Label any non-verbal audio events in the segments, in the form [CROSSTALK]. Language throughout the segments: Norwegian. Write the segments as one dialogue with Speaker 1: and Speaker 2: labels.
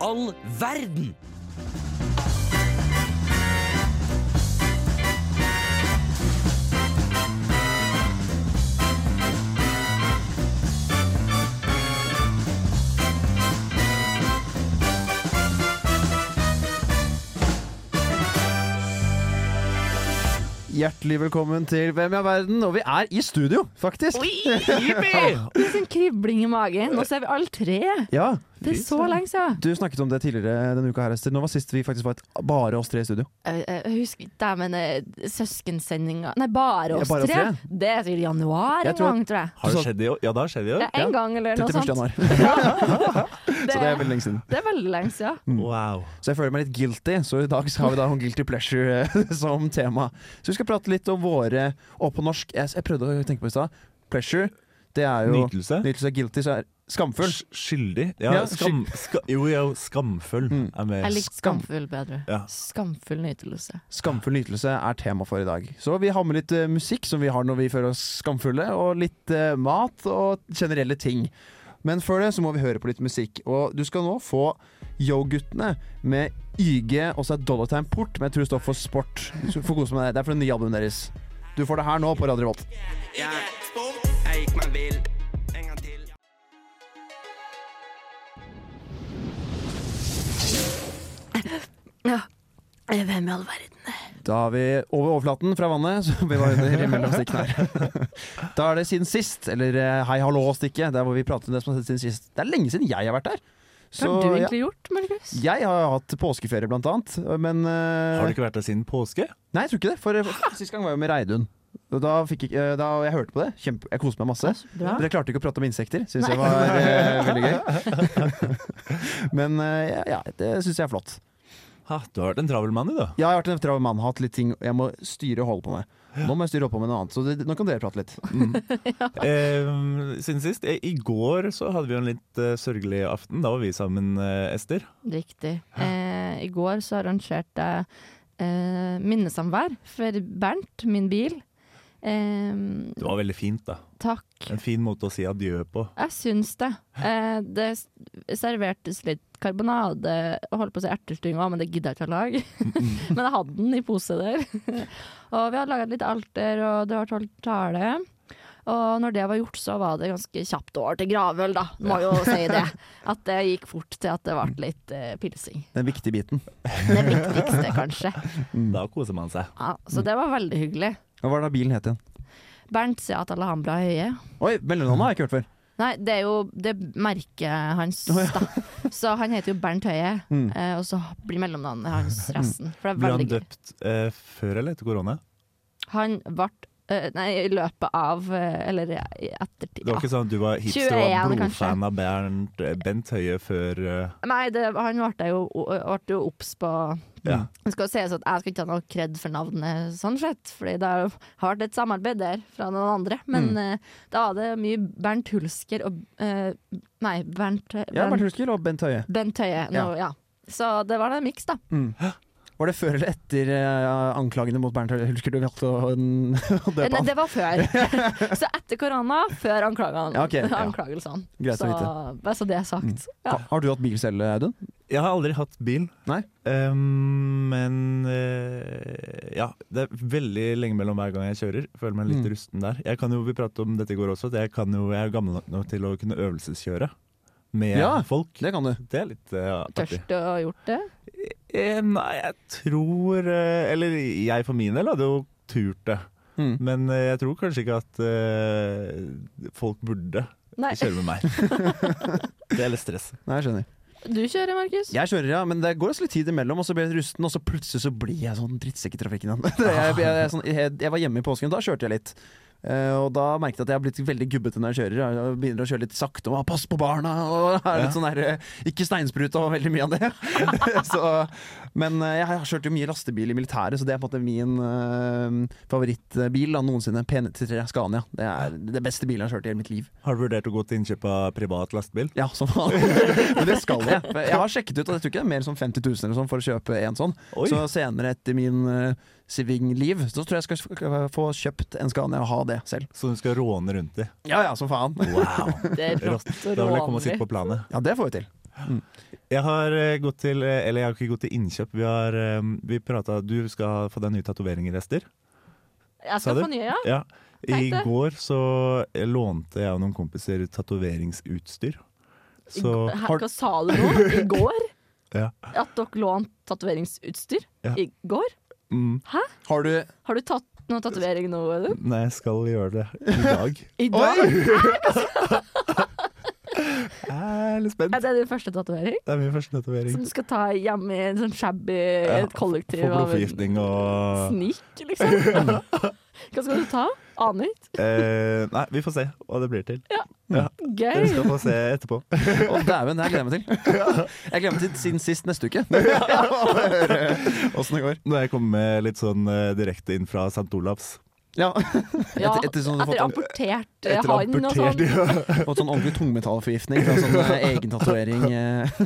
Speaker 1: all verden?
Speaker 2: Hjertelig velkommen til Hvem er verden? Og vi er i studio, faktisk.
Speaker 3: Det er sånn kribling i magen. Nå ser vi alle tre.
Speaker 2: Ja,
Speaker 3: Det er så lenge siden.
Speaker 2: Du snakket om det tidligere denne uka her, Ester. Nå var sist vi faktisk var et, bare oss tre i studio.
Speaker 3: Jeg, jeg husker dæven eh, søskensendinga Nei, bare oss
Speaker 2: Ja, bare oss
Speaker 3: tre. Det er sikkert januar
Speaker 2: Jeg
Speaker 3: en
Speaker 2: tror at-
Speaker 3: gang, tror jeg.
Speaker 4: Har det skjedd i år? Ja, det har skjedd i år.
Speaker 3: Ja, en gang eller noe
Speaker 2: 31.
Speaker 3: sånt. [LAUGHS]
Speaker 2: januar. [LAUGHS]
Speaker 3: Det,
Speaker 2: Så det er veldig lenge siden.
Speaker 3: det er veldig lenge siden.
Speaker 4: Wow.
Speaker 2: Så jeg føler meg litt guilty, så i dag så har vi da om guilty pleasure eh, [LAUGHS] som tema. Så vi skal prate litt om våre Og på norsk, jeg, jeg prøvde å tenke på det i stad. Pleasure, det er jo
Speaker 4: Nytelse?
Speaker 2: Nytelse av guilty, så er skamfull.
Speaker 4: Sk- Skyldig? Mm.
Speaker 2: Ja,
Speaker 4: Ja, skam, ska, jo, jo, skamfull er
Speaker 3: Jeg
Speaker 4: med.
Speaker 3: likte Skamfull bedre.
Speaker 4: Ja.
Speaker 3: Skamfull nytelse.
Speaker 2: Skamfull nytelse er tema for i dag. Så vi har med litt eh, musikk som vi har når vi føler oss skamfulle, og litt eh, mat og generelle ting. Men før det så må vi høre på litt musikk. Og du skal nå få Yo-guttene med YG og så er Dollartime Port, men jeg tror det står for sport. Så få kose med deg. Det er for det nye albumet deres. Du får det her nå på Radio Revolt.
Speaker 5: Jeg, jeg gikk meg vill. En gang til.
Speaker 3: Ja. Hvem i all verden?
Speaker 2: Da er vi over overflaten fra vannet, så vi var under mellom stikkene her. [LAUGHS] Da er det siden sist, eller eh, hei hallo-stikket, der hvor vi prater om det som har skjedd siden sist. Det er lenge siden jeg har vært der.
Speaker 3: Hva har du
Speaker 2: ja.
Speaker 3: egentlig gjort, Markus?
Speaker 2: Jeg har hatt påskeferie, blant annet. Men eh,
Speaker 4: Har du ikke vært der siden påske?
Speaker 2: Nei, jeg tror ikke det. For,
Speaker 4: [LAUGHS]
Speaker 2: for sist gang var jeg jo med Reidun. Og da fikk jeg, eh, da, jeg hørte på det. Kjempe, jeg koste meg masse.
Speaker 3: Bra.
Speaker 2: Dere klarte ikke å prate om insekter. Syns jeg var
Speaker 4: [LAUGHS]
Speaker 2: eh, veldig gøy. [LAUGHS] Men eh, ja, ja, det syns jeg er flott.
Speaker 4: Ha, du har vært en travel mann, du, da.
Speaker 2: Ja, Jeg har vært en travel mann, hatt litt ting jeg må styre og holde på med. Nå må jeg styre og holde på med noe annet, så det, nå kan dere prate litt.
Speaker 4: Eh, siden sist. Eh, I går så hadde vi jo en litt eh, sørgelig aften. Da var vi sammen, eh, Ester.
Speaker 3: Riktig. Eh, I går så arrangerte jeg eh, minnesamvær for Bernt, min bil. Eh,
Speaker 4: Det var veldig fint, da.
Speaker 3: takk.
Speaker 4: En fin måte å si adjø på.
Speaker 3: Jeg syns det. Eh, det s- servertes litt karbonade og holdt på å si ertestuing òg, men det gidder jeg ikke å lage. [LAUGHS] men jeg hadde den i pose der. [LAUGHS] og vi hadde laga et lite alter, og det var tolv tale. Og når det var gjort, så var det ganske kjapt over til gravøl, da. Må jo si det. At det gikk fort til at det ble litt eh, pilsing.
Speaker 2: Den viktige biten.
Speaker 3: Det viktigste, kanskje.
Speaker 4: Da koser man seg.
Speaker 3: Ja, så det var veldig hyggelig.
Speaker 2: Hva var det da bilen het igjen?
Speaker 3: Bernt sier at Alhambra er høye.
Speaker 2: Oi, mellomnavnet har jeg ikke hørt før.
Speaker 3: Nei, det er jo det er merket hans, da. Så han heter jo Bernt Høie, eh, og så blir mellomnavnet hans resten. For det
Speaker 4: Ble
Speaker 3: er
Speaker 4: han
Speaker 3: veldig gøy.
Speaker 4: døpt eh, før eller etter korona?
Speaker 3: Han ble eh, Nei, i løpet av eh, Eller i ettertid.
Speaker 4: Det var ikke
Speaker 3: Ja.
Speaker 4: sånn at du var hipster og
Speaker 3: 21,
Speaker 4: var
Speaker 3: kanskje.
Speaker 4: blodfan av Bernt, eh, Bent Høie før eh,
Speaker 3: Nei, det, han ble jo, ble jo obs på
Speaker 4: Ja.
Speaker 2: Mm.
Speaker 3: Det skal jo sies at jeg skal ikke ha noe kred for navnet, sånn sett, fordi det har jo vært et samarbeid der fra noen andre. Men eh, da var det mye Bernt Hulsker og eh, Nei, Bernt,
Speaker 2: Ja, Bernt
Speaker 3: Bernt,
Speaker 2: Hulsker og Bent Høie.
Speaker 3: Bent Høie. Nå, ja. Så det var en miks, da.
Speaker 2: Var det før eller etter eh, anklagene mot Bernt Hulsker du valgte å, [LAUGHS] å døpe
Speaker 3: Nei,
Speaker 2: han?
Speaker 3: det var før.
Speaker 2: [LAUGHS]
Speaker 3: så etter korona, før anklagene.
Speaker 2: Ja, ok, ja.
Speaker 3: anklagelsene.
Speaker 2: Greit å Mm.
Speaker 3: så, bare så det er sagt. Ja.
Speaker 2: Ha- Har du hatt bil selv, Audun?
Speaker 4: Jeg har aldri hatt bil.
Speaker 2: Nei.
Speaker 4: Eh, men eh, ja, det er veldig lenge mellom hver gang jeg kjører. Føler meg litt
Speaker 2: Mm.
Speaker 4: rusten der. Jeg kan jo, Vi pratet om dette i går også, at jeg, kan jo, jeg er gammel nok nå til å kunne øvelseskjøre med
Speaker 2: Ja.
Speaker 4: folk.
Speaker 2: Det kan du.
Speaker 4: Det er litt eh, artig.
Speaker 3: Tørst å ha gjort det.
Speaker 4: Eh, nei, jeg tror eh, Eller jeg for min del hadde jo turt det.
Speaker 2: Mm.
Speaker 4: Men eh, jeg tror kanskje ikke at eh, folk burde
Speaker 3: Nei,
Speaker 4: kjøre med meg.
Speaker 3: [LAUGHS]
Speaker 4: det er litt stress.
Speaker 2: Nei, jeg skjønner.
Speaker 3: du kjører, Markus.
Speaker 2: Jeg kjører, ja, men det går også litt tid imellom, og så blir jeg rusten, og så plutselig så blir jeg sånn drittsekk i trafikken igjen. [LAUGHS] jeg, jeg, jeg, er sånn, jeg, jeg var hjemme i påsken, da kjørte jeg litt. Eh, og da merket jeg at jeg har blitt veldig gubbete når jeg kjører. Jeg begynner å kjøre litt sakte og 'pass på barna' og [LAUGHS] er litt sånn der, eh, ikke steinsprut og veldig mye av det. [LAUGHS] så, men eh, jeg har kjørt jo mye lastebil i militæret, så det er på en måte min eh, favorittbil da, noensinne. P93 Scania. Det er det beste bilen jeg har kjørt i hele mitt liv.
Speaker 4: Har du vurdert å gå til innkjøp av privat lastebil?
Speaker 2: Ja, som vanlig. [LAUGHS] Men det skal jeg. For [LAUGHS] Jeg har sjekket ut, og jeg tror ikke det er mer som 50 000 eller sånn for å kjøpe en sånn.
Speaker 4: Oi.
Speaker 2: Så senere etter min eh, Siving-liv, så tror jeg jeg skal f- få kjøpt en Scania og ha det selv.
Speaker 4: Så du skal råne rundt i?
Speaker 2: Ja ja, som faen.
Speaker 4: Wow!
Speaker 3: Det er
Speaker 4: Rått.
Speaker 3: rått og
Speaker 4: [LAUGHS] Da vil jeg komme og sitte
Speaker 3: rålig.
Speaker 4: på planet.
Speaker 2: [LAUGHS] Ja, det får vi til.
Speaker 4: Jeg har eh, gått til eh, Eller jeg har ikke gått til innkjøp. Vi har eh, vi prata Du skal få deg nye tatoveringer, Ester.
Speaker 3: Jeg
Speaker 4: Sa
Speaker 3: skal
Speaker 4: du?
Speaker 3: få nye, ja. [LAUGHS]
Speaker 4: Ja. I
Speaker 3: Tenk det.
Speaker 4: går så eh, lånte jeg og noen kompiser tatoveringsutstyr.
Speaker 3: I
Speaker 4: Så
Speaker 3: g- Hæ, Hva sa du nå?
Speaker 4: [LAUGHS]
Speaker 3: I går?
Speaker 4: Ja.
Speaker 3: At dere lånte tatoveringsutstyr?
Speaker 4: Ja.
Speaker 3: I går?
Speaker 4: mm,
Speaker 2: Har du
Speaker 3: Har du tatt noen tatovering nå? Eller?
Speaker 4: Nei, jeg skal gjøre det i
Speaker 3: [LAUGHS]
Speaker 4: dag.
Speaker 3: I dag?
Speaker 2: Oi!
Speaker 4: Jeg er litt
Speaker 3: Er
Speaker 4: spent.
Speaker 3: det din første tatovering?
Speaker 4: Det er min første tatovering.
Speaker 3: Som du skal ta hjemme i en sånn shabby
Speaker 4: Ja,
Speaker 3: et kollektiv?
Speaker 4: Få
Speaker 3: av en
Speaker 4: blodforgiftning og
Speaker 3: Snik, liksom?
Speaker 4: [LAUGHS]
Speaker 3: Hva skal du ta? Aner ikke.
Speaker 4: eh, Nei, vi får se hva det blir til. Dere
Speaker 3: Gøy.
Speaker 4: skal få se etterpå.
Speaker 2: Å, dæven, det her gleder [LAUGHS] jeg meg til. Jeg gleder meg til siden sist neste [LAUGHS] uke. Åssen det går.
Speaker 4: Når jeg kommer med litt sånn eh, direkte inn fra St. Olavs.
Speaker 2: Ja. Etter,
Speaker 3: Ja,
Speaker 2: etter sånn du har
Speaker 3: Etter
Speaker 2: fått,
Speaker 3: amportert eh,
Speaker 4: Etter
Speaker 3: hann og sånn.
Speaker 4: amportert
Speaker 2: fått sånn ordentlig tungmetallforgiftning fra sånn eh, [LAUGHS] egen tatovering [LAUGHS] eh,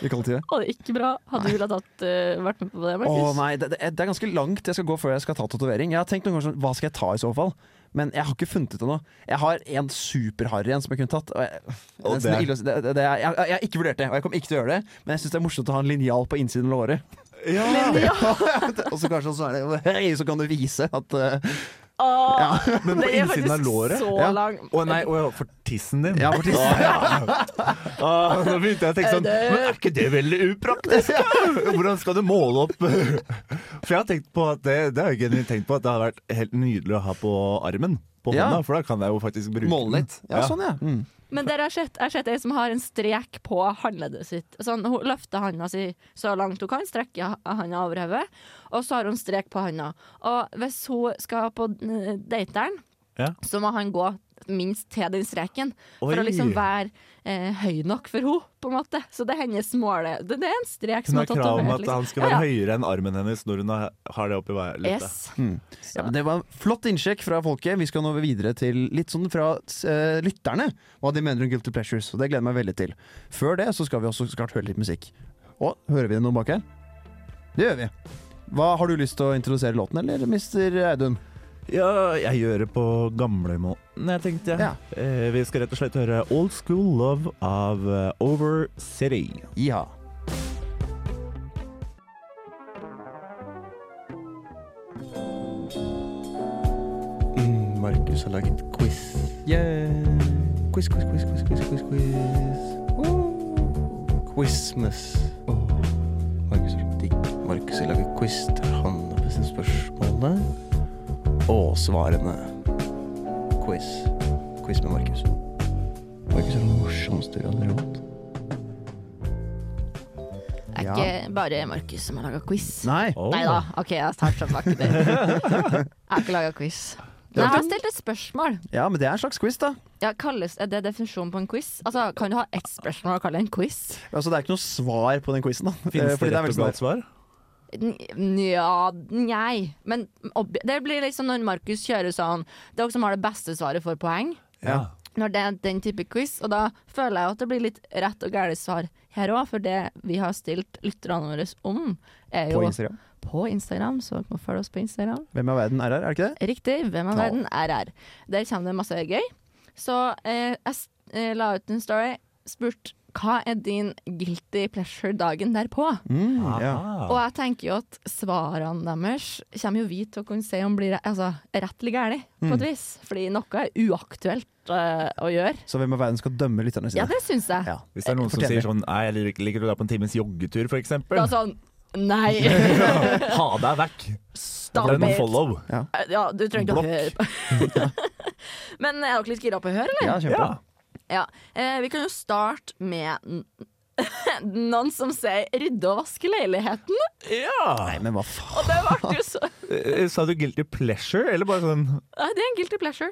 Speaker 2: i kollektivet.
Speaker 3: Å, det er ikke bra. Hadde du villet tatt, eh, vært med på det,
Speaker 2: Å
Speaker 3: Markus?
Speaker 2: nei, det, det er- det er ganske langt jeg skal gå før jeg skal ta tatovering. Jeg har tenkt noen ganger sånn, hva skal jeg ta i så fall? Men jeg har ikke funnet ut ennå. Jeg har en superharry en som jeg kunne tatt. Og jeg,
Speaker 4: Og
Speaker 2: det er nesten
Speaker 4: det-
Speaker 2: ille å si- det, det, det er, jeg, jeg har ikke vurdert det, og jeg kommer ikke til å gjøre det. Men jeg syns det er morsomt å ha en linjal på innsiden av låret.
Speaker 4: Ja.
Speaker 2: [LAUGHS] og så kanskje sånn er det, [LAUGHS] hei, så kan du vise at eh,
Speaker 3: Åh,
Speaker 4: Men på
Speaker 3: det er
Speaker 4: innsiden av
Speaker 3: faktisk
Speaker 4: låret?
Speaker 3: Så
Speaker 2: Ja.
Speaker 3: lang.
Speaker 4: Å nei, å, ja, for tissen din?
Speaker 2: Ja, for tissen.
Speaker 4: Å, ja. Å, nå begynte jeg å tenke sånn Men er ikke det veldig upraktisk? da? Hvordan skal du måle opp For jeg har tenkt på at det, det har jeg ikke tenkt på At det har vært helt nydelig å ha på armen. På
Speaker 2: Ja.
Speaker 4: hånda, for da kan jeg jo faktisk bruke
Speaker 2: Måle
Speaker 4: den.
Speaker 2: litt. Ja, sånn, ja. Mm.
Speaker 3: Men dere har sett, jeg har sett ei som har en strek på håndleddet sitt. Sånn, hun løfter handa si så langt hun kan, strekker ha- handa over hodet, og så har hun strek på handa. Og hvis hun skal på eh, dateren,
Speaker 4: Ja.
Speaker 3: så må han gå minst til den streken.
Speaker 4: Oi.
Speaker 3: For å liksom være eh, høy nok for henne, på en måte. Så det er hennes mål. Det, det er en strek
Speaker 4: Hun
Speaker 3: som
Speaker 4: har
Speaker 3: er
Speaker 4: krav om
Speaker 3: tatovert. liksom.
Speaker 4: at han skal
Speaker 3: Ja,
Speaker 4: være
Speaker 3: ja.
Speaker 4: høyere enn armen hennes når hun har- har det oppi været.
Speaker 3: Yes.
Speaker 2: Ja, men det var en flott innsjekk fra folket. Vi skal nå videre til litt sånn fra eh, lytterne. Hva de mener om Guilty Pleasures. Og det gleder jeg meg veldig til. Før det så skal vi også så klart høre litt musikk. Å, hører vi noe bak her? Det gjør vi. Hva Har du lyst til å introdusere låten, eller mister Audun?
Speaker 4: Ja, jeg gjør det på gamlemåten, jeg tenkte jeg.
Speaker 2: Ja.
Speaker 4: Eh, vi skal rett og slett høre Old School Love av eh, Over City.
Speaker 2: Ja.
Speaker 1: Markus har laget quiz.
Speaker 2: Yeah.
Speaker 1: Quiz, quiz, quiz, quiz, quiz, quiz, quiz. Oh. Quizmas. Markus har laget digg. Markus har laget quiz der han har bestemt spørsmålene og svarene. Quiz. Quiz med Markus. Markus er den morsomste vi har hatt.
Speaker 3: Det er ikke bare Markus som har laga quiz.
Speaker 2: Nei.
Speaker 4: Oh.
Speaker 3: Nei da, OK, jeg tar tilbake
Speaker 2: [LAUGHS]
Speaker 3: det. Jeg har ikke laga quiz. Men jeg har stilt et spørsmål.
Speaker 2: Ja, men det er en slags quiz, da.
Speaker 3: Ja, kalles, er det definisjonen på en quiz? Altså, Kan du ha ett spørsmål og kalle det en quiz?
Speaker 2: Altså, det er ikke noe svar på den quizen, da. Eh,
Speaker 4: Finnes
Speaker 2: fordi
Speaker 4: det rett
Speaker 2: er veldig
Speaker 4: og galt svar?
Speaker 3: N- Nja, nei. Men ob- det blir liksom når Markus kjører sånn Dere som har det beste svaret, får poeng.
Speaker 2: Ja.
Speaker 3: Når det er den type quiz, og da føler jeg at det blir litt rett og galt svar her òg, for det vi har stilt lytterne våre om, er jo
Speaker 2: På Instagram.
Speaker 3: på Instagram, så dere må følge oss på Instagram.
Speaker 2: Hvem er verden RR, er det ikke det?
Speaker 3: Riktig. Hvem av verden er her? Der kommer det masse gøy. Så eh, jeg s- eh, la ut en story, spurt hva er din guilty pleasure dagen derpå?
Speaker 2: Mm, ja.
Speaker 3: Og jeg tenker jo at svarene deres kommer jo vi til å kunne se om blir altså, rett eller gærent, på
Speaker 2: Mm.
Speaker 3: et vis. Fordi noe er uaktuelt eh, å gjøre.
Speaker 2: Så hvem er verden skal dømme lytterne
Speaker 3: Ja,
Speaker 2: sine?
Speaker 3: det syns jeg.
Speaker 2: Ja.
Speaker 4: Hvis det er noen som
Speaker 2: Fortell
Speaker 4: sier sånn Nei, jeg liker- liker å dra på en times joggetur, for eksempel.
Speaker 3: Da
Speaker 4: [LAUGHS]
Speaker 3: sånn
Speaker 2: [LAUGHS]
Speaker 3: Nei,
Speaker 4: ha deg vekk!
Speaker 3: stopp
Speaker 4: Den
Speaker 3: it!
Speaker 4: follow.
Speaker 3: Ja, du trenger ikke å
Speaker 4: Blokk.
Speaker 3: høre på.
Speaker 2: [LAUGHS]
Speaker 3: [LAUGHS] Men er dere litt gira på å høre, eller?
Speaker 2: Ja, kjempe.
Speaker 4: Ja.
Speaker 3: Ja, eh, Vi kan jo starte med n- [LAUGHS] noen som sier 'rydde og vaske leiligheten'. [LAUGHS]
Speaker 4: ja.
Speaker 2: Nei, men hva faen?
Speaker 3: Og det ble jo så
Speaker 4: Eh, Sa du guilty pleasure, eller bare sånn
Speaker 3: Nei, Det er en guilty pleasure.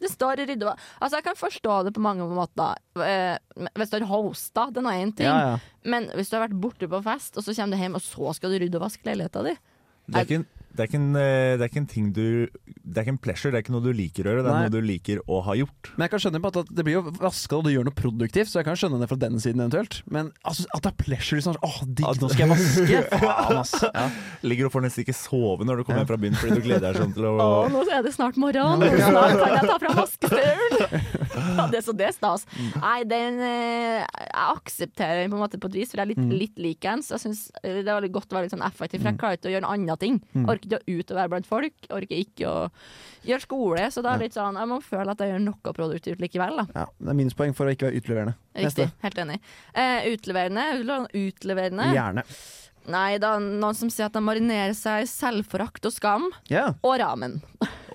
Speaker 3: Det står i rydde og Altså, jeg kan forstå det på mange måter. Eh, hvis du har hosta, den er én ting.
Speaker 2: Ja, ja.
Speaker 3: Men hvis du har vært borte på fest, og så kommer du hjem, og så skal du rydde og vaske leiligheta di.
Speaker 4: Det er ikke en Det er, ikke en, eh, det er ikke en ting du Det er ikke en pleasure, det er ikke noe du liker å gjøre, det er
Speaker 2: Nei.
Speaker 4: noe du liker å ha gjort.
Speaker 2: Men jeg kan skjønne på at- at det blir jo vaska og du gjør noe produktivt, så jeg kan skjønne det fra den siden eventuelt. Men altså, at det er pleasure liksom, Åh, digg, nå skal jeg [LAUGHS] vaske! Faen, ass. Ja.
Speaker 4: Ligger og får nesten ikke sove når du kommer hjem fra byen fordi du gleder deg sånn til å
Speaker 3: Å,
Speaker 2: [LAUGHS]
Speaker 3: nå er det snart morgen, og snart kan jeg ta fram vaskestøvelen! Ja, det, så det er stas. Nei, den eh, Jeg aksepterer den på en måte på et vis, for jeg er litt, litt lik den. Så jeg syns det er veldig godt å være litt sånn effektiv, for jeg klarer ikke å gjøre noen andre ting. Jeg orker ikke å ut og være blant folk, jeg orker ikke å gjøre skole. Så da er det litt sånn jeg må føle at jeg gjør noe produktivt likevel, da.
Speaker 2: Ja, det er minuspoeng for å ikke være utleverende.
Speaker 3: Riktig. Helt enig. Eh, utleverende? Vil du ha noe Utleverende?
Speaker 2: Gjerne.
Speaker 3: Nei, da noen som sier at de marinerer seg i selvforakt og skam.
Speaker 2: Ja,
Speaker 3: Og ramen.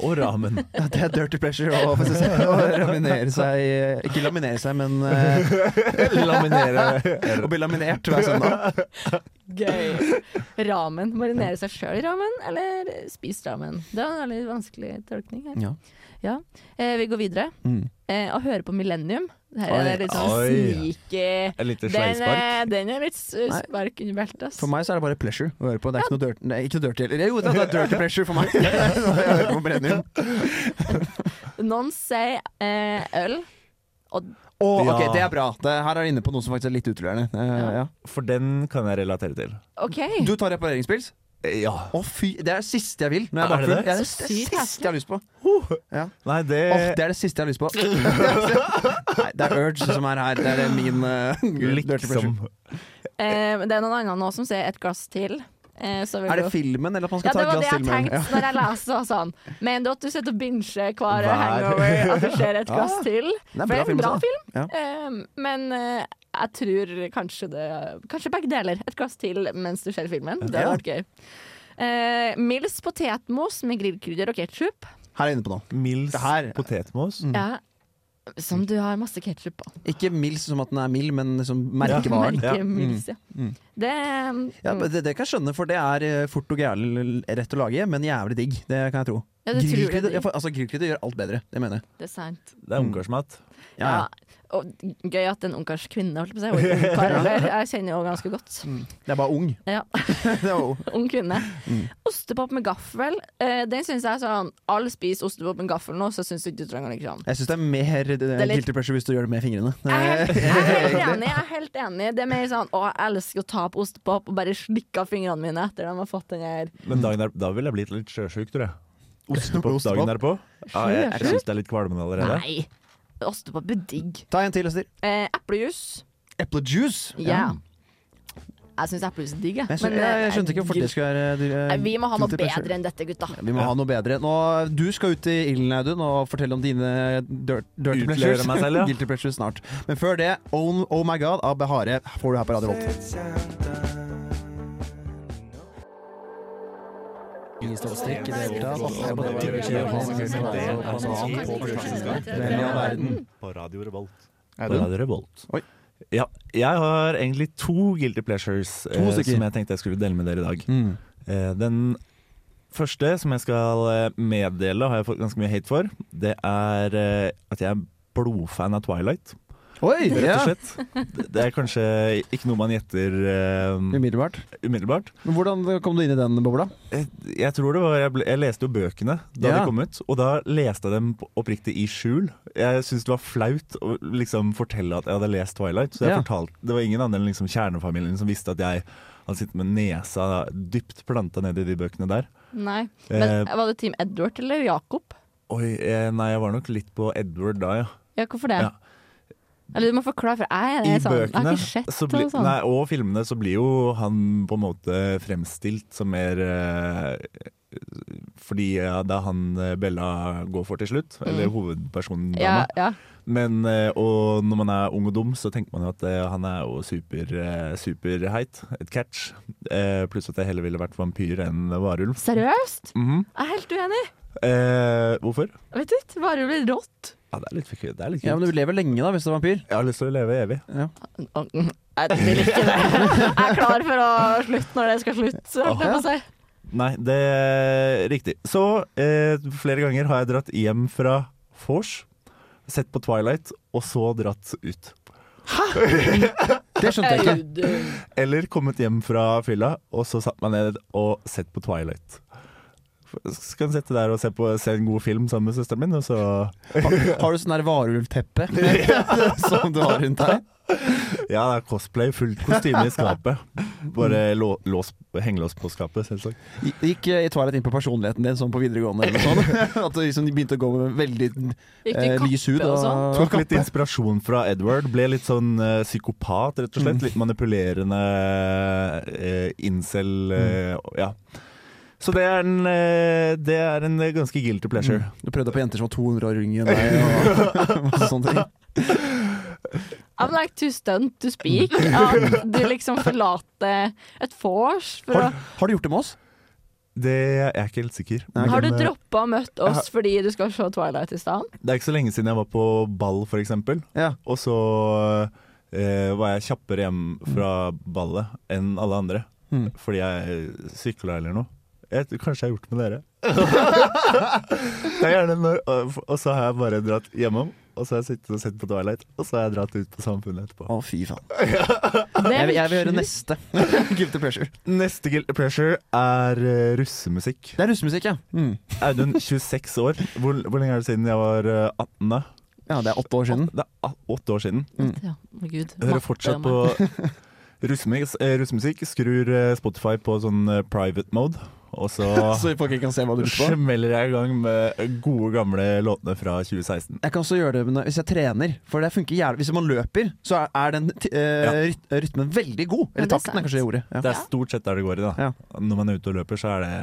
Speaker 4: Og ramen.
Speaker 2: det er dirty pleasure å, faktisk, å laminere seg Ikke laminere seg, men [LAUGHS] eh,
Speaker 4: Laminere
Speaker 2: å bli laminert hver søndag.
Speaker 3: Gøy. [LAUGHS] Ramen. Marinere seg sjøl i ramen, eller spise ramen? Det var en veldig vanskelig tolkning. Her.
Speaker 2: Ja.
Speaker 3: Ja. Eh, vi går videre.
Speaker 2: Mm.
Speaker 3: Eh, å høre på Millennium. Her
Speaker 2: Oi.
Speaker 3: er det litt sånn
Speaker 4: Oi.
Speaker 3: sneaky
Speaker 4: Et lite
Speaker 3: den,
Speaker 4: sleivspark.
Speaker 3: eh, den er litt s-
Speaker 2: Nei.
Speaker 3: spark under beltet. ass.
Speaker 2: For meg så er det bare pleasure å høre på. Det er ikke noe dirty, nei, ikke noe dirty heller. Jo, det er dirty pleasure [LAUGHS] for meg. Når jeg hører på Millennium.
Speaker 3: Noen sier eh, øl. Og
Speaker 2: Å,
Speaker 4: Ja.
Speaker 2: ok, det er bra. Det, her er det inne på noe som faktisk er litt utleverende. Eh, ja.
Speaker 4: For den kan jeg relatere til.
Speaker 3: OK.
Speaker 2: Du tar repareringspils?
Speaker 4: Ja.
Speaker 2: Å fy, Det er det siste jeg vil. Når jeg
Speaker 4: Er det
Speaker 2: bakfull.
Speaker 4: det?
Speaker 2: Ja, det Eh. er det
Speaker 3: Så sykt
Speaker 2: siste jeg har lyst på.
Speaker 4: Nei, det
Speaker 2: Åh, det er det siste jeg har lyst på.
Speaker 3: [LAUGHS]
Speaker 2: Nei, det er Urge som er her. Det er min eh, [LAUGHS] dirty
Speaker 4: liksom
Speaker 2: pleasure.
Speaker 3: Eh, men det er noen andre nå som sier et glass til. Eh, så vil
Speaker 2: Er
Speaker 3: du-
Speaker 2: det filmen, eller at man
Speaker 3: Ja,
Speaker 2: skal
Speaker 3: det
Speaker 2: ta
Speaker 3: var
Speaker 2: et
Speaker 3: det
Speaker 2: glass
Speaker 3: jeg
Speaker 2: til? med?
Speaker 3: tenkte når jeg leste det, var sånn. Men du at du sitter og binsjer hver
Speaker 4: Hver.
Speaker 3: hangover, at det
Speaker 2: [LAUGHS]
Speaker 3: skjer et glass
Speaker 2: Ja.
Speaker 3: til.
Speaker 2: er en
Speaker 3: For det
Speaker 2: bra
Speaker 3: er en
Speaker 2: film,
Speaker 3: bra
Speaker 2: altså.
Speaker 3: film.
Speaker 2: Ja.
Speaker 3: Eh, men eh, jeg tror kanskje det Kanskje begge deler. Et glass til mens du ser filmen. Det hadde
Speaker 2: Ja.
Speaker 3: vært gøy. Eh, Mils potetmos med grillkrydder og ketsjup.
Speaker 2: Ja. Her er jeg inne på noe.
Speaker 4: Mils
Speaker 2: Det her-
Speaker 4: potetmos.
Speaker 2: Mm.
Speaker 3: Ja. Som du har masse ketsjup
Speaker 2: [LAUGHS]
Speaker 3: på.
Speaker 2: Ikke Mills som at den er mild, men liksom merkevaren.
Speaker 3: Merke
Speaker 4: Ja.
Speaker 3: Mils, ja. Det
Speaker 2: Mm. Ja,
Speaker 3: mm,
Speaker 2: men det, det kan jeg skjønne, for det er eh, fort og gæren rett å lage, men jævlig digg. Det kan jeg tro.
Speaker 3: Ja, det tror jeg
Speaker 2: Grillkrydder-
Speaker 3: digg.
Speaker 2: ja, for- altså, Grillkrydder gjør alt bedre, det mener jeg.
Speaker 3: det er sant.
Speaker 4: Det er ungkarsmat.
Speaker 2: Ja, ja.
Speaker 3: Og gøy at en ungkarsk kvinne, holdt jeg på å si. Og en ungkar,
Speaker 2: [LAUGHS]
Speaker 3: eller? Jeg kjenner jo ganske godt.
Speaker 2: Det er
Speaker 3: [LAUGHS]
Speaker 2: bare ung.
Speaker 3: Ja,
Speaker 2: Det er jo-
Speaker 3: [LAUGHS] ung kvinne. Ostepop med gaffel. Eh, den syns jeg er sånn Alle spiser ostepop med gaffel nå, så syns jeg ikke du trenger liksom
Speaker 2: Jeg syns det er mer eh,
Speaker 3: litt-
Speaker 2: guilty pleasure hvis du gjør det med fingrene.
Speaker 3: jeg er, helt, jeg er helt enig. jeg er helt enig Det er mer sånn å, jeg elsker å ta på ostepop og bare slikke av fingrene mine etter at de har fått den her.
Speaker 4: Men dagen der, da ville jeg blitt litt sjøsjuk, tror jeg. Ostepop
Speaker 2: [LAUGHS] Ostepop.
Speaker 4: dagen derpå. Ja, jeg jeg syns det er litt kvalmende allerede.
Speaker 3: Nei! Ostepop er digg.
Speaker 2: Ta en til, Ester.
Speaker 3: Eh, Eplejuice.
Speaker 2: Eplejuice.
Speaker 3: Ja. Jeg syns eplejuice er digg, jeg.
Speaker 2: Men Jeg, skjønte,
Speaker 3: Men,
Speaker 2: jeg,
Speaker 3: eh,
Speaker 2: jeg skjønte ikke hvorfor det skulle være eh, dyr-
Speaker 3: Nei, Vi må ha noe
Speaker 2: guilty pleasure.
Speaker 3: bedre enn dette, gutta.
Speaker 2: Vi må ha noe bedre. Nå, du skal ut i ilden, Audun, og fortelle om dine dirt, dirty
Speaker 4: Utlevere
Speaker 2: pleasures.
Speaker 4: meg selv, ja.
Speaker 2: [LAUGHS] Guilty pleasures snart. Men før det, Oh, oh My God av Behare får du her på Radio Volt.
Speaker 4: sånn På Radio Revolt. sånn. På
Speaker 2: Audun?
Speaker 4: Radio Revolt.
Speaker 2: Oi.
Speaker 4: Ja, jeg har egentlig to guilty pleasures eh,
Speaker 2: stykker.
Speaker 4: som jeg tenkte jeg skulle dele med dere i dag.
Speaker 2: Mm.
Speaker 4: Eh, den første som jeg skal eh, meddele, har jeg fått ganske mye hate for. Det er eh, at jeg er blodfan av Twilight,
Speaker 2: Oi!
Speaker 4: rett
Speaker 2: Ja.
Speaker 4: og slett. Det- Det er kanskje ikke noe man gjetter eh,
Speaker 2: Umiddelbart.
Speaker 4: umiddelbart.
Speaker 2: Men hvordan kom du inn i den bobla?
Speaker 4: Jeg, jeg tror det var jeg, ble, jeg leste jo bøkene da
Speaker 2: Ja.
Speaker 4: de kom ut, og da leste jeg dem på- oppriktig i skjul. Jeg syntes det var flaut å liksom fortelle at jeg hadde lest Twilight. Så jeg
Speaker 2: Ja.
Speaker 4: fortalte, det var ingen andre enn liksom kjernefamilien som visste at jeg hadde sittet med nesa dypt planta ned i de bøkene der.
Speaker 3: Nei.
Speaker 4: Eh,
Speaker 3: Men var du Team Edward eller Jakob?
Speaker 4: Oi, eh, nei, jeg var nok litt på Edward da, ja.
Speaker 3: Ja, hvorfor det?
Speaker 4: Ja.
Speaker 3: Eller du må forklare, for jeg,
Speaker 4: I
Speaker 3: er sånn, jeg har
Speaker 4: bøkene
Speaker 3: ikke sett sånn.
Speaker 4: så bli,
Speaker 3: noe sånt.
Speaker 4: nei, og filmene så blir jo han på en måte fremstilt som mer eh, Fordi ja, det er han eh, Bella går for til slutt, eller hovedpersonen
Speaker 3: Mm. Ja,
Speaker 4: dama.
Speaker 3: ja.
Speaker 4: Men, eh, og når man er ung og dum, så tenker man jo at eh, han er jo super, eh, superheit. Et catch. Eh, Pluss at jeg heller ville vært vampyr enn varulv.
Speaker 3: Seriøst?
Speaker 4: Mhm.
Speaker 3: Jeg er helt uenig.
Speaker 4: eh, hvorfor?
Speaker 3: Vet du, ikke, bare det blir rått.
Speaker 4: Ja, det er litt kult. Det er litt
Speaker 2: Ja, men
Speaker 4: kult.
Speaker 2: Du lever lenge da, hvis du er vampyr.
Speaker 4: Jeg har lyst til å leve evig.
Speaker 3: Å, Jeg vil ikke det. Jeg er klar for å slutte når det skal slutte. holdt jeg på å si.
Speaker 4: Nei, det er riktig. Så eh, flere ganger har jeg dratt hjem fra vors, sett på Twilight, og så dratt ut.
Speaker 2: Det skjønte jeg ikke.
Speaker 3: Audun.
Speaker 4: Eller kommet hjem fra fylla, og så satt meg ned og sett på Twilight. skal jeg sette der og se, på, se en god film sammen med søsteren min, og så
Speaker 2: Har, [LAUGHS] har du sånn der varulvteppe [LAUGHS] som du har rundt deg?
Speaker 4: Ja, det er cosplay. Fullt kostyme i skapet. Bare lå- lås, hengelås på skapet, selvsagt.
Speaker 2: Gikk eh, Twilight inn på personligheten din sånn på videregående? Eller
Speaker 4: [LAUGHS]
Speaker 2: noe sånt? At du liksom begynte å gå med veldig
Speaker 3: Gikk
Speaker 2: eh,
Speaker 3: du i
Speaker 2: lys hud?
Speaker 3: kappe og sånn?
Speaker 4: Tok litt inspirasjon fra Edward. Ble litt sånn eh, psykopat, rett og
Speaker 3: Mm.
Speaker 4: slett. Litt manipulerende eh, incel
Speaker 3: Mm.
Speaker 4: eh, Ja. Så det er en, eh, det er en ganske guilty pleasure.
Speaker 2: Du prøvde på jenter som var 200 år yngre enn deg?
Speaker 4: [LAUGHS]
Speaker 2: Og masse sånne ting.
Speaker 3: Mm. I'm like too stunned to speak. At du liksom forlater et vors. For
Speaker 2: Har,
Speaker 3: å,
Speaker 2: har du gjort det med oss?
Speaker 4: Det jeg er ikke helt sikker.
Speaker 2: Nei, ok.
Speaker 3: har du
Speaker 4: Men, eh,
Speaker 3: droppa å møtt oss fordi du skal se Twilight i stedet?
Speaker 4: Det er ikke så lenge siden jeg var på ball, for eksempel.
Speaker 2: Ja.
Speaker 4: Og så eh, var jeg kjappere hjem fra ballet enn alle andre.
Speaker 2: Mm.
Speaker 4: Fordi jeg sykla eller noe. Jeg, tror kanskje jeg har gjort det med [LAUGHS] dere. det er gjerne når, og, og så har jeg bare dratt hjemom, og så har jeg sittet og sett på Twilight, og så har jeg dratt ut på Samfunnet etterpå.
Speaker 2: Å, fy faen.
Speaker 3: Det
Speaker 2: Jeg,
Speaker 3: er
Speaker 2: vil- jeg vil høre
Speaker 3: sjukt.
Speaker 2: neste. [LAUGHS] Guilty pleasure.
Speaker 4: [LAUGHS] Neste guilty pleasure er eh, russemusikk.
Speaker 2: Det er russemusikk, ja. Mm.
Speaker 4: Audun, 26 år. Hvor, hvor lenge er det siden jeg var eh, 18? da?
Speaker 2: Ja, Det er åtte år siden.
Speaker 4: Det er a- åtte år siden.
Speaker 3: Ja, å Gud.
Speaker 4: Jeg hører
Speaker 3: Matte,
Speaker 4: fortsatt
Speaker 3: meg.
Speaker 4: på
Speaker 2: [LAUGHS]
Speaker 4: russemusikk, eh, russemusikk. Skrur eh, Spotify på sånn eh, private mode, og så
Speaker 2: [LAUGHS] Så folk ikke kan se hva du lurer på.
Speaker 4: smeller jeg i gang med gode, gamle låtene fra 2016.
Speaker 2: Jeg kan også gjøre det når- hvis jeg trener, for det funker jævlig. Hvis man løper, så er, er den ti- eh,
Speaker 4: Ja.
Speaker 2: ryt- rytmen veldig god.
Speaker 3: Ja,
Speaker 2: Eller
Speaker 3: det er
Speaker 2: takten, er
Speaker 3: sant.
Speaker 2: kanskje det ordet. Ja.
Speaker 4: Det er stort sett der det går i, da.
Speaker 2: Ja.
Speaker 4: Når man er ute og løper, så er det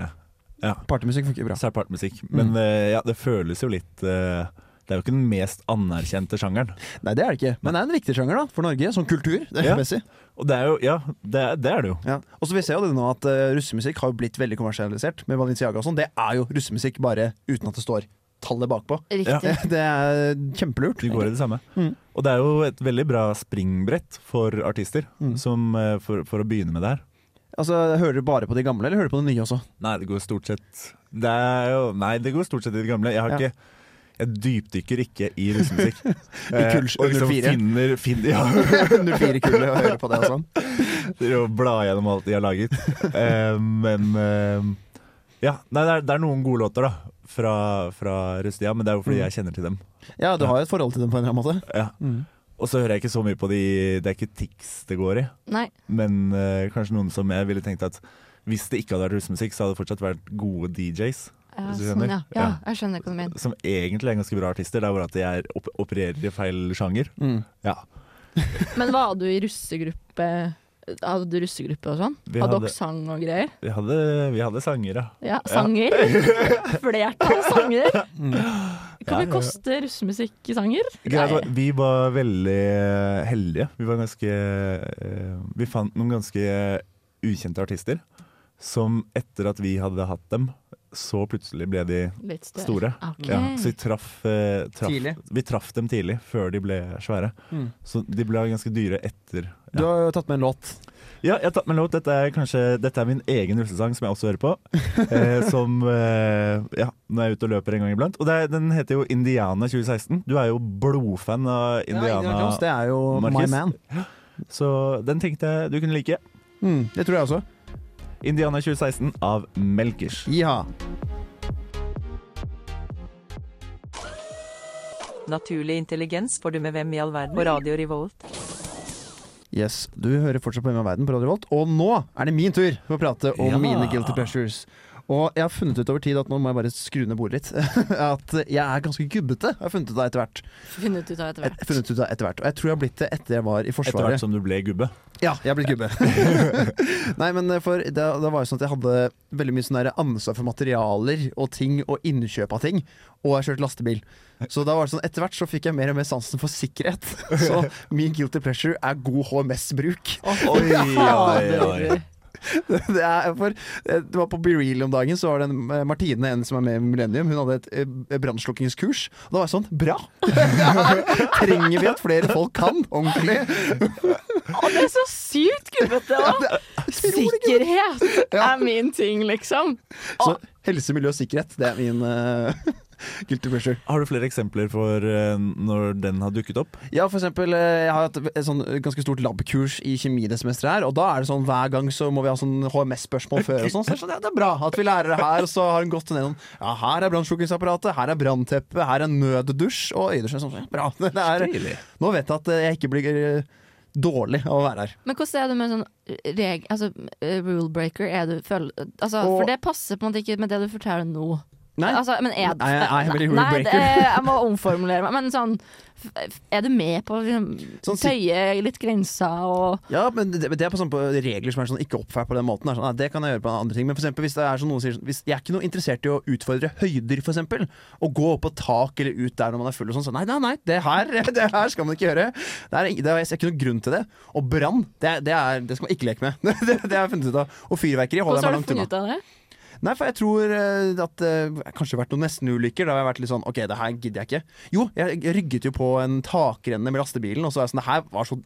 Speaker 4: ja,
Speaker 2: Partymusikk funker bra.
Speaker 4: så er det partmusikk.
Speaker 2: Mm.
Speaker 4: Men eh, ja, det føles jo litt eh, Det er jo ikke den mest anerkjente sjangeren.
Speaker 2: Nei, det er det ikke. Men det er en viktig sjanger da, for Norge, som kultur. Det er
Speaker 4: Ja.
Speaker 2: messig.
Speaker 4: Og det er jo Ja, det er det, er det jo.
Speaker 2: Ja. Og så Vi ser jo det nå at eh, russemusikk har jo blitt veldig kommersialisert. Med Balenciaga og sånn. Det er jo russemusikk bare uten at det står tallet bakpå. [LAUGHS]
Speaker 3: Riktig.
Speaker 2: Det er kjempelurt.
Speaker 4: De går i det samme.
Speaker 2: Mm.
Speaker 4: Og det er jo et veldig bra springbrett for artister,
Speaker 2: Mm.
Speaker 4: som, eh, for, for å begynne med der.
Speaker 2: Altså, Hører du bare på de gamle, eller hører du på de nye også? [LAUGHS]
Speaker 4: Nei, det går stort sett Det er jo Nei, det går stort sett i det gamle. Jeg har
Speaker 2: Ja.
Speaker 4: ikke jeg dypdykker ikke i russemusikk.
Speaker 2: [LAUGHS] I Kuls
Speaker 4: Eh, og liksom
Speaker 2: 104.
Speaker 4: finner, finner [LAUGHS] ja,
Speaker 2: Under fire kuler og hører på det og sånn.
Speaker 4: driver og blar gjennom alt de har laget. Eh, men eh, Ja. Nei, det er, det er noen gode låter, da. Fra, fra russetida, men det er jo fordi
Speaker 2: Mm.
Speaker 4: jeg kjenner til dem.
Speaker 2: Ja, du har jo et forhold til dem på en eller annen måte.
Speaker 4: Ja. Og så hører jeg ikke så mye på de Det er ikke Tix det går i,
Speaker 3: Nei.
Speaker 4: men eh, kanskje noen som jeg ville tenkt at hvis det ikke hadde vært russemusikk, så hadde det fortsatt vært gode DJs.
Speaker 3: Ja,
Speaker 4: Hvis du
Speaker 3: sånn,
Speaker 4: skjønner?
Speaker 3: ja. ja,
Speaker 4: Ja.
Speaker 3: jeg skjønner hva du mener.
Speaker 4: som egentlig er ganske bra artister. Det er bare at de er, op opererer i feil sjanger.
Speaker 2: Mm.
Speaker 4: Ja.
Speaker 3: Men var du i russegruppe? Hadde du russegruppe og sånn?
Speaker 4: Vi
Speaker 3: Hadde
Speaker 4: hadde-
Speaker 3: dere sang og greier?
Speaker 4: Vi hadde, vi hadde sanger, ja.
Speaker 3: Ja,
Speaker 4: [LAUGHS]
Speaker 3: sanger. Flertall sanger.
Speaker 4: Mm.
Speaker 3: Kan vi koste russemusikk i sanger?
Speaker 4: Greia var- Vi var veldig heldige. Vi var ganske eh, Vi fant noen ganske ukjente artister som etter at vi hadde hatt dem, så plutselig ble de
Speaker 3: Litt større.
Speaker 4: store.
Speaker 3: Ah, Ok.
Speaker 4: Ja, så vi traff, eh, traff
Speaker 2: Tidlig.
Speaker 4: Vi traff dem tidlig, før de ble svære.
Speaker 2: Mm.
Speaker 4: Så de ble ganske dyre etter.
Speaker 2: Du har jo tatt med en låt.
Speaker 4: Ja, jeg har tatt med en låt. Dette er, kanskje, dette er min egen russesang som jeg også hører
Speaker 2: [LAUGHS]
Speaker 4: på. Eh, som eh, Ja, når jeg er ute og løper en gang iblant. Og det er, den heter jo Indiana 2016. Du er jo blodfan av Indiana.
Speaker 2: Jones, det er jo
Speaker 4: Marcus.
Speaker 2: My Man.
Speaker 4: så den tenkte jeg du kunne like.
Speaker 2: Mm, det tror jeg også.
Speaker 4: Indiana 2016 av Melkers.
Speaker 2: Ja.
Speaker 6: Naturlig intelligens får du med hvem i all verden på Radio Revolt.
Speaker 2: Yes, Du hører fortsatt på Hjemme av verden på Radio Volt, og nå er det min tur for å prate om
Speaker 4: Ja.
Speaker 2: mine guilty pleasures. Og jeg har funnet ut over tid at nå må jeg bare skru ned bordet litt. [LAUGHS] At jeg er ganske gubbete, har jeg funnet ut av etter hvert.
Speaker 3: Funnet ut av etter
Speaker 2: Et,
Speaker 3: hvert.
Speaker 2: funnet ut av etter hvert. Og jeg tror jeg har blitt det etter jeg var i
Speaker 4: Etter hvert
Speaker 2: Forsvaret.
Speaker 4: som du ble gubbe.
Speaker 2: Ja, jeg har blitt gubbe.
Speaker 4: [LAUGHS]
Speaker 2: Nei, men eh, for da, da var det sånn at jeg hadde veldig mye sånn der ansvar for materialer og ting og innkjøp av ting. Og jeg kjørte lastebil. Så da var det sånn, etter hvert så fikk jeg mer og mer sansen for
Speaker 4: [LAUGHS]
Speaker 2: sikkerhet. Så min guilty pleasure er god HMS-bruk.
Speaker 4: Oi,
Speaker 2: [LAUGHS]
Speaker 4: oi, oi.
Speaker 3: Fader.
Speaker 2: Det, er for, eh, det var på BeReal om dagen, så var det en eh, Martine, en som er med i Millennium, hun hadde et eh, brannslukkingskurs. Og da var jeg sånn Bra! [LAUGHS] Trenger vi at flere folk kan ordentlig?
Speaker 3: Å, det er så sykt gubbete! da. Sikkerhet er min ting, liksom.
Speaker 2: Så helse, miljø og sikkerhet, det er min eh, [LAUGHS] Guilty pleasure.
Speaker 4: Har du flere eksempler for eh, når den har dukket opp?
Speaker 2: Ja, for eksempel, eh, jeg har hatt et sånn ganske stort labkurs i kjemi det semesteret her, og da er det sånn hver gang så må vi ha sånn HMS-spørsmål før og sånn, så jeg skjønner, ja, det er bra at vi lærer det her, og så har hun gått gjennom, ja, her er brannslukkingsapparatet, her er brannteppet, her er nøddusj, og Øydersjø sånn, ja, bra. [LAUGHS] Det er, nå vet jeg at eh, jeg ikke blir eh, dårlig av å være her.
Speaker 3: Men hvordan er det med sånn reg... Altså, eh, rule breaker? Er du føl... Altså,
Speaker 2: Og-
Speaker 3: for det passer på en måte ikke med det du forteller nå.
Speaker 2: Nei,
Speaker 3: Altså, men er
Speaker 2: Nei, jeg er veldig rule
Speaker 3: Nei, det-
Speaker 2: breaker.
Speaker 3: jeg må omformulere meg. Men sånn f- Er du med på å liksom,
Speaker 2: Sånn si-
Speaker 3: tøye litt grenser og
Speaker 2: Ja, men det, men det er på, sånn, på regler som er sånn ikke oppfært på den måten. Er sånn, nei, det kan jeg gjøre på andre ting. Men for eksempel, hvis det er sånn noen sier sånn, hvis jeg er ikke noe interessert i å utfordre høyder, for eksempel. Å gå opp på tak eller ut der når man er full og sånn. Så nei, nei, nei, det her, [LAUGHS] det her skal man ikke gjøre. Det er, det er, jeg ser ikke noen grunn til det. Og brann, det, er- det, er- det skal man ikke leke med. [LAUGHS] Det, det har jeg funnet ut av. Og fyrverkeri holder jeg
Speaker 3: Hvordan
Speaker 2: meg
Speaker 3: har du
Speaker 2: langt unna.
Speaker 3: funnet ut av det?
Speaker 2: Nei, for jeg tror eh, at eh, Kanskje det har vært noen nestenulykker. Da har jeg vært litt sånn OK, det her gidder jeg ikke. Jo, jeg jeg rygget jo på en takrenne med lastebilen, og så er jeg sånn Det her var så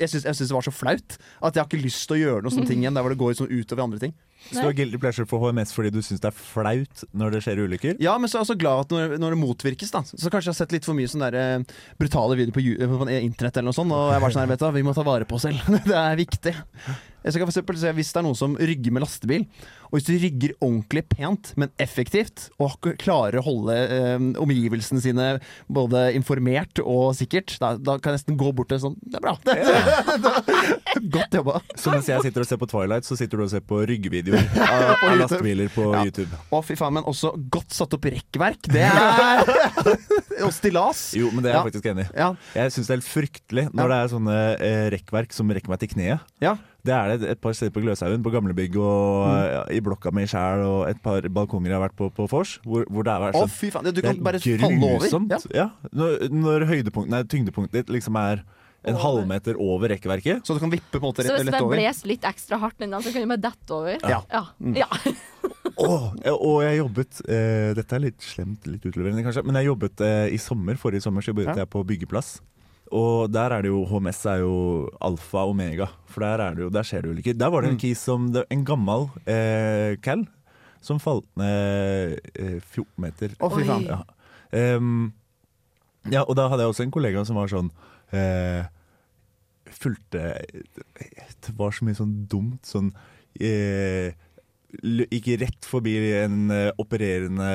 Speaker 2: Jeg syns jeg syns det var så flaut at jeg har ikke lyst til å gjøre noe sånne ting igjen der hvor det går sånn utover andre ting.
Speaker 4: Så du har guilty pleasure for HMS fordi du syns det er flaut når det skjer ulykker?
Speaker 2: Ja, men så er jeg også glad at når, når det motvirkes, da. Så kanskje jeg har sett litt for mye sånne der, eh, brutale videoer på, ju- eh, på internett eller noe sånt, og jeg var sånn her, vet du, hva, vi må ta vare på oss selv. [LAUGHS] det er viktig. Jeg skal for eksempel se Hvis det er noen som rygger med lastebil, og hvis du rygger ordentlig pent, men effektivt, og k- klarer å holde eh, omgivelsene sine både informert og sikkert, da, da kan jeg nesten gå bort til sånn Det er bra. [LAUGHS] Det, godt jobba.
Speaker 4: Så mens jeg sitter og ser på Twilight, så sitter du og ser på ryggvideoer av
Speaker 2: [LAUGHS] På
Speaker 4: av
Speaker 2: YouTube.
Speaker 4: lastebiler på
Speaker 2: Ja.
Speaker 4: YouTube.
Speaker 2: Å, fy faen, men også godt satt opp rekkverk. Det er [LAUGHS] Og stillas.
Speaker 4: Jo, men det er jeg
Speaker 2: Ja.
Speaker 4: faktisk enig i.
Speaker 2: Ja,
Speaker 4: Jeg syns det er helt fryktelig når
Speaker 2: Ja.
Speaker 4: det er sånne eh, rekkverk som rekker meg til kneet.
Speaker 2: ja.
Speaker 4: Det er det et par steder på Gløshaugen, på gamlebygg og
Speaker 2: Mm.
Speaker 4: eh, i blokka mi sjæl, og et par balkonger jeg har vært på på Fors, hvor, hvor det har vært
Speaker 2: Å,
Speaker 4: sånn
Speaker 2: fy faen. Du
Speaker 4: Det
Speaker 2: kan
Speaker 4: er
Speaker 2: bare falle over.
Speaker 4: grusomt.
Speaker 2: Ja.
Speaker 4: Ja. Når, når høydepunkt, nei, tyngdepunktet ditt liksom er en halvmeter over rekkverket.
Speaker 2: Så du kan vippe på en måte
Speaker 3: Så
Speaker 2: rett,
Speaker 3: hvis
Speaker 2: lett
Speaker 3: den
Speaker 2: over.
Speaker 3: bles litt ekstra hardt den dagen, så kunne den bare dette over?
Speaker 2: Ja. Mm.
Speaker 3: Ja. ja.
Speaker 4: Åh, ja, og jeg jobbet eh, Dette er litt slemt, litt utleverende kanskje, men jeg jobbet eh, i sommer. Forrige sommer så jobbet
Speaker 2: Ja.
Speaker 4: jeg på byggeplass. Og der er det jo HMS er jo alfa og omega, for der, er det jo, der skjer det ulykker. Der var det en kis som det- En gammel eh, cal som falt ned eh, 14 meter
Speaker 2: Å, fy
Speaker 3: Oi.
Speaker 2: faen.
Speaker 4: Ja. Ehm, ja, og da hadde jeg også en kollega som var sånn eh, Fulgte Det var så mye sånn dumt sånn eh, l- Gikk rett forbi en eh, opererende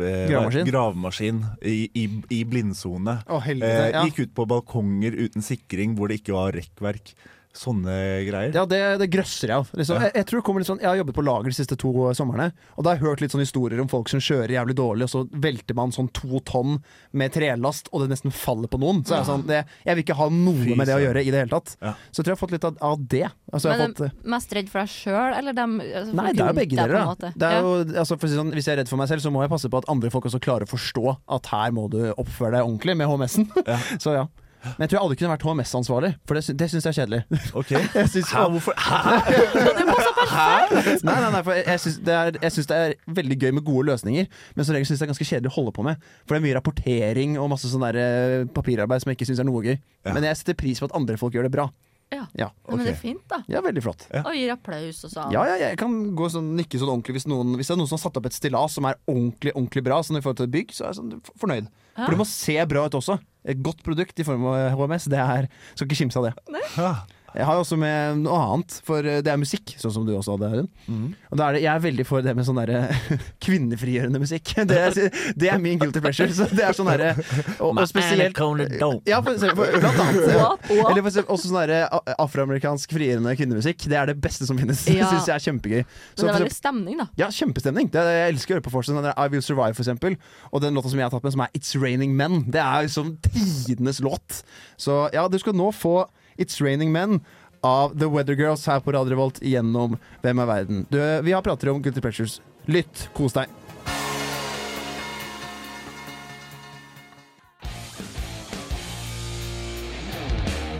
Speaker 4: eh,
Speaker 2: Gravemaskin?
Speaker 4: gravemaskin i, i, i blindsone.
Speaker 2: Å, helvete.
Speaker 4: Eh,
Speaker 2: Ja.
Speaker 4: Gikk ut på balkonger uten sikring hvor det ikke var rekkverk. Sånne greier.
Speaker 2: Ja, det, det grøsser jeg av. Liksom. Jeg, jeg tror det kommer litt sånn Jeg har jobbet på lager de siste to somrene, og da har jeg hørt litt sånne historier om folk som kjører jævlig dårlig, og så velter man sånn to tonn med trelast, og det nesten faller på noen. Så er jeg sånn det, Jeg vil ikke ha noe
Speaker 4: Fy
Speaker 2: med det å
Speaker 4: søren.
Speaker 2: gjøre i det hele tatt.
Speaker 4: Ja.
Speaker 2: Så jeg tror jeg har fått litt av, av det. Altså, jeg har
Speaker 3: Men
Speaker 2: fått,
Speaker 3: er du mest redd for deg sjøl, eller dem altså,
Speaker 2: Nei,
Speaker 3: folk
Speaker 2: det er jo
Speaker 3: rundt
Speaker 2: begge
Speaker 3: deg, på
Speaker 2: deler.
Speaker 3: en
Speaker 2: Da.
Speaker 3: måte?
Speaker 2: Det
Speaker 3: Ja.
Speaker 2: er jo, altså, for å si sånn, hvis jeg er redd for meg selv, så må jeg passe på at andre folk også klarer å forstå at her må du oppføre deg ordentlig med HMS-en.
Speaker 4: Ja.
Speaker 2: [LAUGHS] så ja. Men jeg tror jeg aldri kunne vært HMS-ansvarlig, for det, sy- det syns jeg er
Speaker 4: [LAUGHS]
Speaker 2: kjedelig. [LAUGHS]
Speaker 4: Ok.
Speaker 2: Jeg syns-
Speaker 4: Hæ, hvorfor? Hæ?
Speaker 2: nei, nei, nei, for jeg- jeg syns det, er- jeg syns det er veldig gøy med gode løsninger, men som regel syns jeg det er ganske kjedelig å holde på med. For det er mye rapportering og masse sånn der, eh, papirarbeid som jeg ikke syns er noe gøy.
Speaker 4: Ja.
Speaker 2: Men jeg setter pris på at andre folk gjør det bra.
Speaker 3: Ja.
Speaker 2: Ja,
Speaker 3: Nei, Men det
Speaker 4: Ok.
Speaker 3: er fint, da.
Speaker 2: ja veldig flott.
Speaker 4: Ja.
Speaker 3: Og gir applaus og sånn.
Speaker 2: Ja, ja, jeg kan gå sånn, nikke sånn ordentlig hvis, noen, hvis det er noen som har satt opp et stillas som er ordentlig ordentlig bra sånn i forhold til et bygg, så er jeg sånn f- fornøyd. For det må se bra ut også. Et godt produkt i form av HMS, det er Skal ikke kimse av det.
Speaker 4: Ah,
Speaker 2: Jeg har også med noe annet, for eh, det er musikk, sånn som du også hadde, Audun. Og da er det, jeg er veldig for det med sånn derre [LAUGHS] kvinnefrigjørende musikk. [LAUGHS] Det er, det er min guilty pleasure. Så det er sånn derre og, og spesielt ja, for, for, blant annet. Ja.
Speaker 3: What? What?
Speaker 2: Eller for, eksempel også sånn derre a- afroamerikansk frierende kvinnemusikk. Det er det beste som finnes. [LAUGHS]
Speaker 3: Ja.
Speaker 2: Synes jeg er kjempegøy. Så for
Speaker 3: Men det er
Speaker 2: eksempel-
Speaker 3: veldig stemning, da.
Speaker 2: ja, kjempestemning. Det er det jeg elsker å høre på Forsen. Den der I Will Survive, for eksempel. Og den låta som jeg har tatt med, som er It's Raining Men. Det er liksom tidenes låt. Så ja, du skal nå få It's Raining Men av The Weather Girls her på Radio Revolt gjennom Hvem er verden. Du, vi har pratet om Guilty Pleasures. Lytt, kos deg.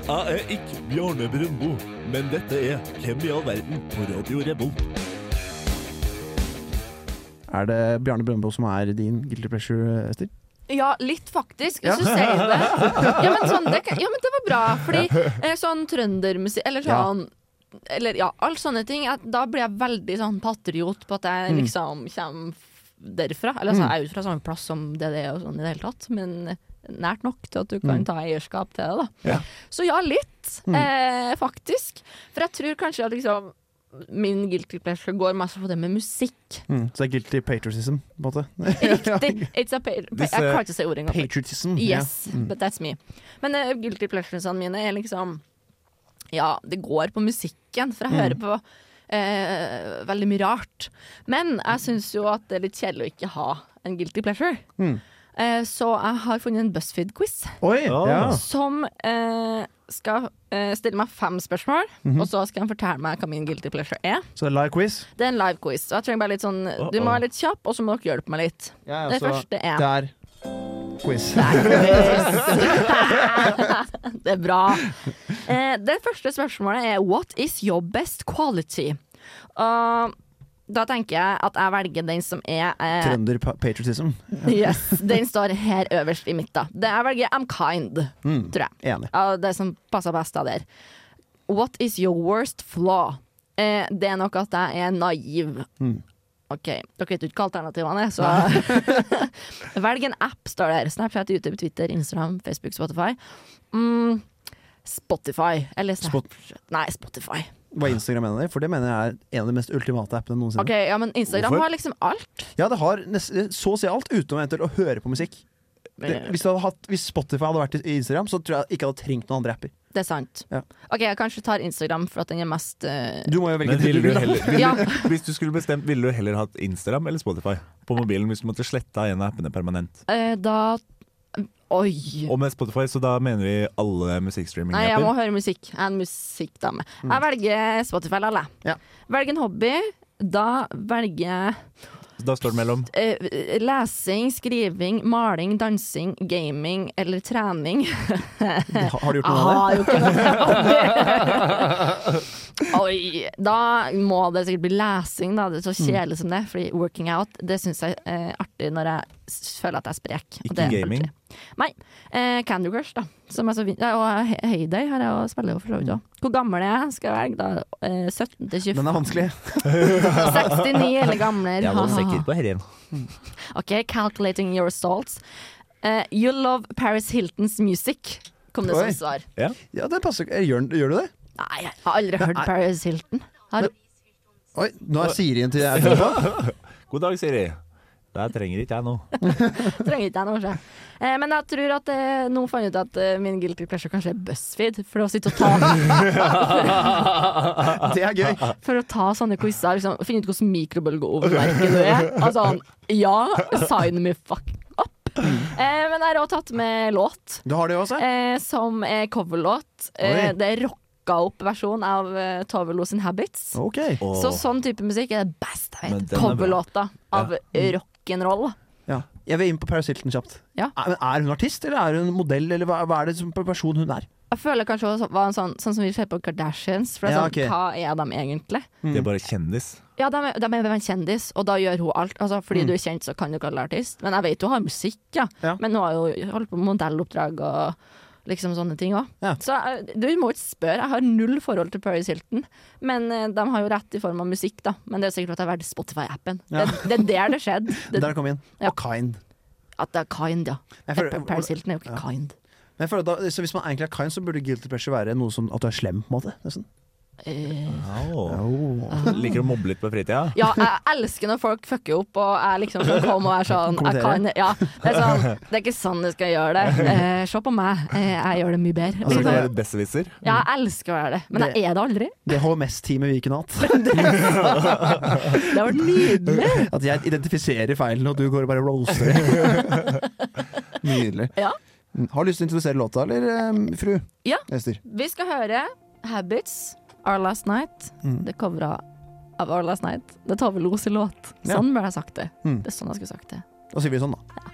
Speaker 7: Jeg er ikke Bjarne Brøndbo, men dette er Hvem i all verden på Radio Revolt.
Speaker 2: Er det Bjarne Brøndbo som er din Guilty Pleasure, Ester?
Speaker 3: Ja, litt faktisk, hvis du sier det. Ja, men, sånn, det kan, ja, men det var bra, fordi eh, sånn trøndermusikk Eller
Speaker 2: Ja.
Speaker 3: sånn Eller ja, alle sånne ting. At, da blir jeg veldig sånn patriot på at jeg liksom kommer derfra. Eller altså, jeg er jo ikke fra samme plass som det det er og sånn i det hele tatt, men nært nok til at du kan ta eierskap til det. da.
Speaker 4: Ja.
Speaker 3: Så ja, litt, eh, faktisk. For jeg tror kanskje at liksom Min guilty pleasure går mest på det med musikk.
Speaker 2: [LAUGHS] Mm. Så det er guilty patriotism, på en måte.
Speaker 3: Riktig. It's a pa pa jeg
Speaker 4: Disse-
Speaker 3: kan ikke si ordet engang.
Speaker 2: Patriotism.
Speaker 3: Yes,
Speaker 2: Mm.
Speaker 3: but that's me. Men eh, guilty pleasuresene mine er liksom Ja, det går på musikken, for jeg
Speaker 2: Mm.
Speaker 3: hører på eh, veldig mye rart. Men jeg syns jo at det er litt kjedelig å ikke ha en guilty pleasure.
Speaker 2: Mm.
Speaker 3: Eh, så jeg har funnet en BuzzFeed-quiz
Speaker 2: Ja. Oi!
Speaker 4: Åh.
Speaker 2: Ja.
Speaker 3: som eh, skal eh, stille meg fem spørsmål,
Speaker 2: Mhm.
Speaker 3: og så skal han fortelle meg hva min guilty pleasure er.
Speaker 2: Så det er live quiz.
Speaker 3: Det er en live quiz. Så jeg trenger bare litt sånn Du må være litt kjapp, og så må dere hjelpe meg litt. det første er
Speaker 2: Det er quiz.
Speaker 3: Det er bra. Eh, det første spørsmålet er What is your best quality? Og da tenker jeg at jeg velger den som er eh,
Speaker 2: Trønder pa- patriotism.
Speaker 3: yes, Den står her øverst i mitt, da. Det jeg velger I'm kind, tror jeg.
Speaker 2: Mm. Enig.
Speaker 3: Ja, det som passer best av der. What is your worst flaw? Eh, det er nok at jeg er naiv.
Speaker 4: Mm.
Speaker 3: OK, dere vet jo ikke hva alternativene er, så [LAUGHS] Velg en app, står der. Snapchat, YouTube, Twitter, Instagram, Facebook, Spotify. Mm, Spotify. Eller Snapchat Nei, Spotify.
Speaker 2: Hva Instagram mener det? For det mener jeg er en av de mest ultimate appene noensinne.
Speaker 3: Ok, ja, Men Instagram
Speaker 4: Hvorfor?
Speaker 3: har liksom alt.
Speaker 2: Ja, det har nest, så å si alt, utenom eventuelt å høre på musikk. Det,
Speaker 3: Eh,
Speaker 2: hvis, du hadde hatt, hvis Spotify hadde vært i Instagram, så tror jeg ikke jeg hadde trengt noen andre apper.
Speaker 3: Det er sant.
Speaker 2: Ja.
Speaker 3: OK, jeg kanskje tar Instagram for at den er mest eh,
Speaker 2: Du må jo velge
Speaker 4: Men ville du heller, ville,
Speaker 3: Ja.
Speaker 4: Hvis du skulle bestemt, ville du heller hatt Instagram eller Spotify på mobilen hvis du måtte slette en av appene permanent?
Speaker 3: eh, Da Oi.
Speaker 4: Og med Spotify, så da mener vi alle
Speaker 3: Nei, jeg må
Speaker 4: musikkstreaming-apper?
Speaker 3: høre musikk. Jeg er en musikkdame. Jeg velger Spotify, alle.
Speaker 2: Ja.
Speaker 3: Velg en hobby. Da velger jeg
Speaker 4: Så Da står det mellom
Speaker 3: eh, lesing, skriving, maling, dansing, gaming eller trening.
Speaker 2: Ha, [LAUGHS] har du gjort
Speaker 3: Jeg
Speaker 2: noe av det?
Speaker 3: har jo ikke
Speaker 2: [LAUGHS]
Speaker 3: noe Oi. Da må det sikkert bli lesing, da. Det er så
Speaker 2: Mm.
Speaker 3: kjedelig som det. Fordi working out, det syns jeg er artig når jeg s- føler at jeg er sprek. og
Speaker 4: Ikke
Speaker 3: det er
Speaker 4: gaming?
Speaker 3: artig. Nei. Eh, Candy Crush, da. Som er så vin ja, og Hey- Heyday har jeg jo spiller jo for så vidt òg. Hvor gammel er jeg? Skal jeg velge da? Eh, 17 til 25?
Speaker 2: Den er
Speaker 3: [LAUGHS]
Speaker 2: vanskelig.
Speaker 3: 69 eller
Speaker 2: [LAUGHS]
Speaker 3: gamlere.
Speaker 4: Jeg var
Speaker 3: Ha, ha, ha.
Speaker 4: sikker på herren.
Speaker 3: [LAUGHS] OK, calculating your results. Eh, you love Paris Hiltons music, kom det
Speaker 2: Oi.
Speaker 3: som svar.
Speaker 2: Ja, den passer ikke. Eh, Gjør, gjør du det?
Speaker 3: Nei, jeg har aldri hørt Paris [LAUGHS] Hilton. Har du
Speaker 2: Oi, nå er Sirien til jeg [LAUGHS] på.
Speaker 4: God dag, Siri. Det trenger ikke jeg nå.
Speaker 3: trenger ikke jeg noe sjef. Eh, men jeg tror at eh, noen fant ut at eh, min guilty pleasure kanskje er BuzzFeed. For å sitte og [LAUGHS] ta,
Speaker 2: Det er gøy.
Speaker 3: for å ta sånne quizer. Liksom, finne ut hvordan mikrobølgeovnverket du [LAUGHS] er. Altså, ja, sign me fuck up. Eh, men jeg har også tatt med låt,
Speaker 2: Du har det også?
Speaker 3: eh, som er coverlåt. Eh,
Speaker 2: Oi.
Speaker 3: det er rocka opp versjon av eh, Tovelo sin Habits.
Speaker 2: Ok.
Speaker 4: Åh,
Speaker 3: Så sånn type musikk er det beste jeg
Speaker 4: Men
Speaker 3: vet.
Speaker 4: den er bra. Mm.
Speaker 3: Coverlåta av rock'n'roll.
Speaker 2: Ja. Jeg vil inn på Paris Hilton kjapt.
Speaker 3: Ja.
Speaker 2: Er, men er hun artist, eller er hun modell, eller hva, hva er det som person hun er?
Speaker 3: Jeg føler kanskje også var en sånn, sånn som vi ser på Kardashians. For det
Speaker 2: Ja,
Speaker 3: er sånn,
Speaker 2: ok.
Speaker 3: Hva er de egentlig?
Speaker 4: Det er bare kjendis.
Speaker 3: Ja, de, er- de er vel en kjendis, og da gjør hun alt. Altså, fordi du er kjent, så kan du kalle deg artist. Men jeg vet hun har musikk, ja.
Speaker 2: Mm. Ja.
Speaker 3: Men hun har jo holdt på med modelloppdrag og liksom sånne ting òg.
Speaker 2: Ja.
Speaker 3: Så jeg- du må ikke spørre. Jeg har null forhold til Paris Hilton. Men eh, de har jo rett i form av musikk, da. Men det er sikkert at jeg valgte Spotify-appen.
Speaker 2: Ja.
Speaker 3: Det, det er der det skjedde.
Speaker 2: [LAUGHS]
Speaker 3: Det,
Speaker 2: Der kom inn.
Speaker 3: Ja.
Speaker 2: Og kind.
Speaker 3: at det er kind, ja.
Speaker 2: Jeg føler-
Speaker 3: Pa- Paris Hilton er jo ikke kind.
Speaker 2: Men jeg føler da, så hvis man egentlig er kind, så burde guilty pleasure være noe som at du er slem, på en måte. Nesten.
Speaker 3: Eh,
Speaker 4: Åh.
Speaker 2: Oh.
Speaker 4: Liker å mobbe litt på fritida?
Speaker 3: Ja, jeg elsker når folk fucker opp og jeg liksom kan komme og er sånn jeg kan,
Speaker 2: Kommentere.
Speaker 3: ja, det, er sånn det er ikke sånn du skal gjøre det. Eh, se på meg, eh, jeg gjør det mye bedre.
Speaker 4: Altså,
Speaker 3: Liksom.
Speaker 4: det er besserwisser.
Speaker 3: Ja, jeg elsker å gjøre det, men jeg er det aldri.
Speaker 2: Det HMS-teamet Viken har hatt.
Speaker 3: [LAUGHS] Det har vært nydelig.
Speaker 2: At jeg identifiserer feilen, og du går og bare roaster det. [LAUGHS] Nydelig.
Speaker 3: Ja.
Speaker 2: Mm. Har du lyst til å introdusere låta, eller em, fru?
Speaker 3: Ja.
Speaker 2: Ester.
Speaker 3: [LAUGHS] Vi skal høre Habits, Our Last Night. Det covra av Our Last Night. Det er Tove Lo sin låt.
Speaker 2: Ja.
Speaker 3: Sånn burde jeg sagt det.
Speaker 2: Mm.
Speaker 3: Det er sånn jeg skulle sagt det.
Speaker 2: Da sier vi det sånn, da.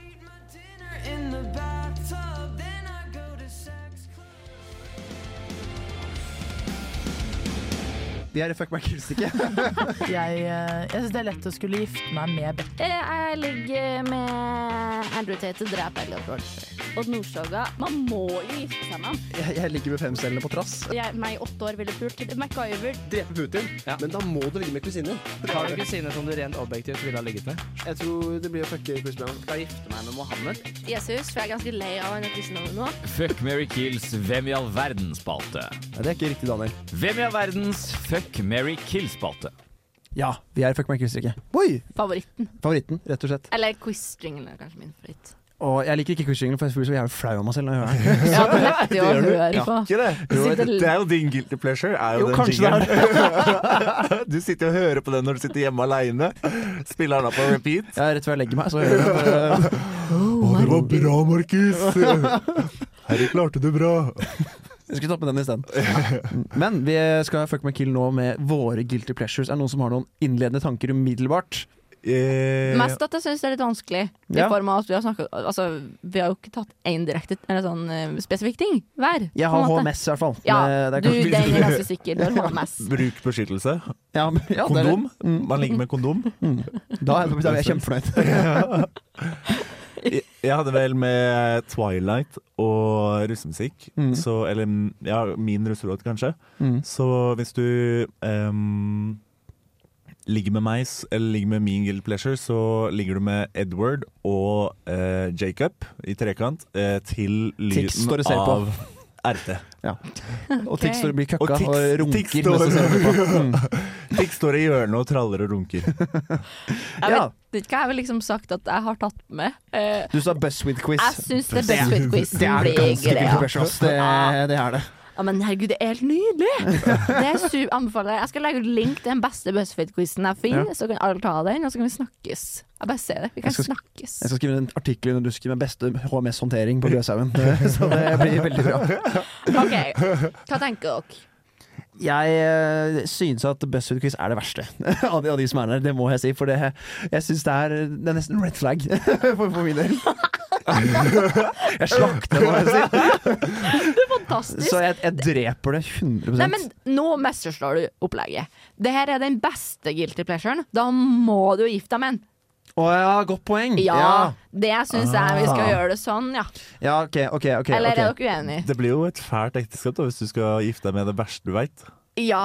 Speaker 2: Vi er i Fuck meg kulstikke.
Speaker 8: Jeg, eh, jeg syns det er lett å skulle
Speaker 3: Eh,
Speaker 8: gifte meg med Beck.
Speaker 3: Jeg ligger med Andrew Tate og dreper Elliot Rolfer.
Speaker 9: Odd Nordstoga. Man må jo gifte seg med ham.
Speaker 2: Jeg, jeg ligger med femcellene på trass.
Speaker 9: Jeg, meg i åtte år ville pult. MacGyver.
Speaker 10: Drepe Putin, men da må du ligge med kusinen din.
Speaker 11: Har du kusiner som du rent objektivt ville ha ligget med?
Speaker 10: Jeg tror det blir å fucke Chris Brown.
Speaker 11: Skal jeg gifte meg med Mohammed?
Speaker 9: Jesus, for jeg er ganske lei av han kristendommen nå.
Speaker 12: Fuck Mary Kills Hvem i all verden-spalte.
Speaker 2: Nei, det er ikke riktig, Daniel.
Speaker 12: Hvem i all verdens Fuck Mary Kill-spalte.
Speaker 2: Ja, vi er fuck meg quiz-drikke. Oi!
Speaker 9: Favoritten.
Speaker 2: Favoritten, rett og slett.
Speaker 9: Eller quiz-stringene er kanskje min favoritt.
Speaker 2: Og jeg liker ikke quiz-ringene, for jeg blir så jævlig flau av meg selv når jeg hører [LAUGHS] den.
Speaker 9: Ja, det er lett å
Speaker 4: gjør du
Speaker 9: høre på.
Speaker 4: Ikke det?
Speaker 9: Du
Speaker 4: Jo,
Speaker 9: sitter-
Speaker 4: det er jo din guilty pleasure. Er jo,
Speaker 2: Jo,
Speaker 4: den
Speaker 2: kanskje det er det.
Speaker 4: jingelen. [LAUGHS] Du sitter og hører på den når du sitter hjemme aleine. Spiller den opp på repeat.
Speaker 2: Ja, rett før jeg legger meg, så hører jeg
Speaker 4: Å,
Speaker 2: den.
Speaker 4: det var bra, [LAUGHS] Markus! Herre, klarte du bra.
Speaker 2: [LAUGHS] Jeg skulle tatt med den isteden. Men vi skal fuck meg kill nå med våre guilty pleasures. Er det noen som har noen innledende tanker umiddelbart?
Speaker 4: Eh,
Speaker 3: Mest at jeg syns det er litt vanskelig. I
Speaker 2: Ja.
Speaker 3: form av at vi har snakket, altså, vi har jo ikke tatt én direkte eller sånn eh, spesifikk ting hver.
Speaker 2: Jeg
Speaker 3: på en
Speaker 2: har
Speaker 3: måte.
Speaker 2: HMS i hvert fall.
Speaker 3: Ja,
Speaker 2: Men eh, det er
Speaker 3: du,
Speaker 2: kanskje-
Speaker 3: den er ganske sikker. Du har HMS.
Speaker 4: Bruk beskyttelse.
Speaker 2: [LAUGHS] Ja, men- ja, det er-
Speaker 4: Kondom. Mm, Man ligger med
Speaker 2: [LAUGHS]
Speaker 4: kondom.
Speaker 2: Da er, da er jeg kjempefornøyd.
Speaker 4: Jeg jeg hadde vel med Twilight og russemusikk,
Speaker 2: Mm.
Speaker 4: så Eller mm, ja, min russelåt, kanskje.
Speaker 2: Mm.
Speaker 4: Så hvis du ehm, ligger med meg, s- eller ligger med min Guild Pleasure, så ligger du med Edward og eh, Jacob i trekant eh, til
Speaker 2: Tix står
Speaker 4: lyden
Speaker 2: og ser på.
Speaker 4: av RT.
Speaker 2: Og Tix står og blir
Speaker 4: Og
Speaker 2: køkka og,
Speaker 4: Tix- Tix
Speaker 2: runker
Speaker 4: står-
Speaker 2: mens hun ser
Speaker 4: [LAUGHS]
Speaker 2: på. Mm.
Speaker 4: Tix står i hjørnet og traller og runker.
Speaker 3: Jeg
Speaker 2: Ja.
Speaker 3: vet ikke, jeg har vel liksom sagt at jeg har tatt med. Eh,
Speaker 2: Du sa Buzzwith quiz.
Speaker 3: jeg syns det best with quizen
Speaker 2: Det er
Speaker 3: blir
Speaker 2: ganske guilty
Speaker 3: greia.
Speaker 2: pleasure, ass. Det, det er det.
Speaker 3: Ja, men herregud, det er helt nydelig! Det er super, anbefaler jeg. Jeg skal legge ut link til den beste BuzzFeed-quizen jeg finner,
Speaker 2: Ja.
Speaker 3: så kan alle ta den, og så kan vi snakkes. Jeg bare ser det. Vi kan
Speaker 2: Jeg skal-
Speaker 3: snakkes.
Speaker 2: Jeg skal skrive en artikkel under dusken med beste HMS-håndtering på Gløshaugen. [LAUGHS] Det- Så det blir veldig bra.
Speaker 3: OK, hva tenker dere?
Speaker 2: Jeg eh, synes at BuzzFeed Quiz er det verste [LAUGHS] av de, av de som er der. Det må jeg si, for det, jeg synes det er Det er nesten red flag [LAUGHS] for, for min [LAUGHS] del. Jeg slakter det, må jeg si.
Speaker 3: Fantastisk.
Speaker 2: Så jeg, jeg dreper det 100
Speaker 3: Nei, men Nå misforstår du opplegget. Det her er den beste guilty pleasuren. Da må du jo gifte deg med en.
Speaker 2: Å ja, godt poeng!
Speaker 3: Ja, det syns jeg vi skal
Speaker 4: Ah.
Speaker 3: gjøre det sånn, ja.
Speaker 2: ja. ja ok, ok. ok,
Speaker 3: Eller
Speaker 2: ok.
Speaker 3: er dere uenige?
Speaker 4: Det blir jo et fælt ekteskap da, hvis du skal gifte deg med det verste du veit.
Speaker 3: Ja.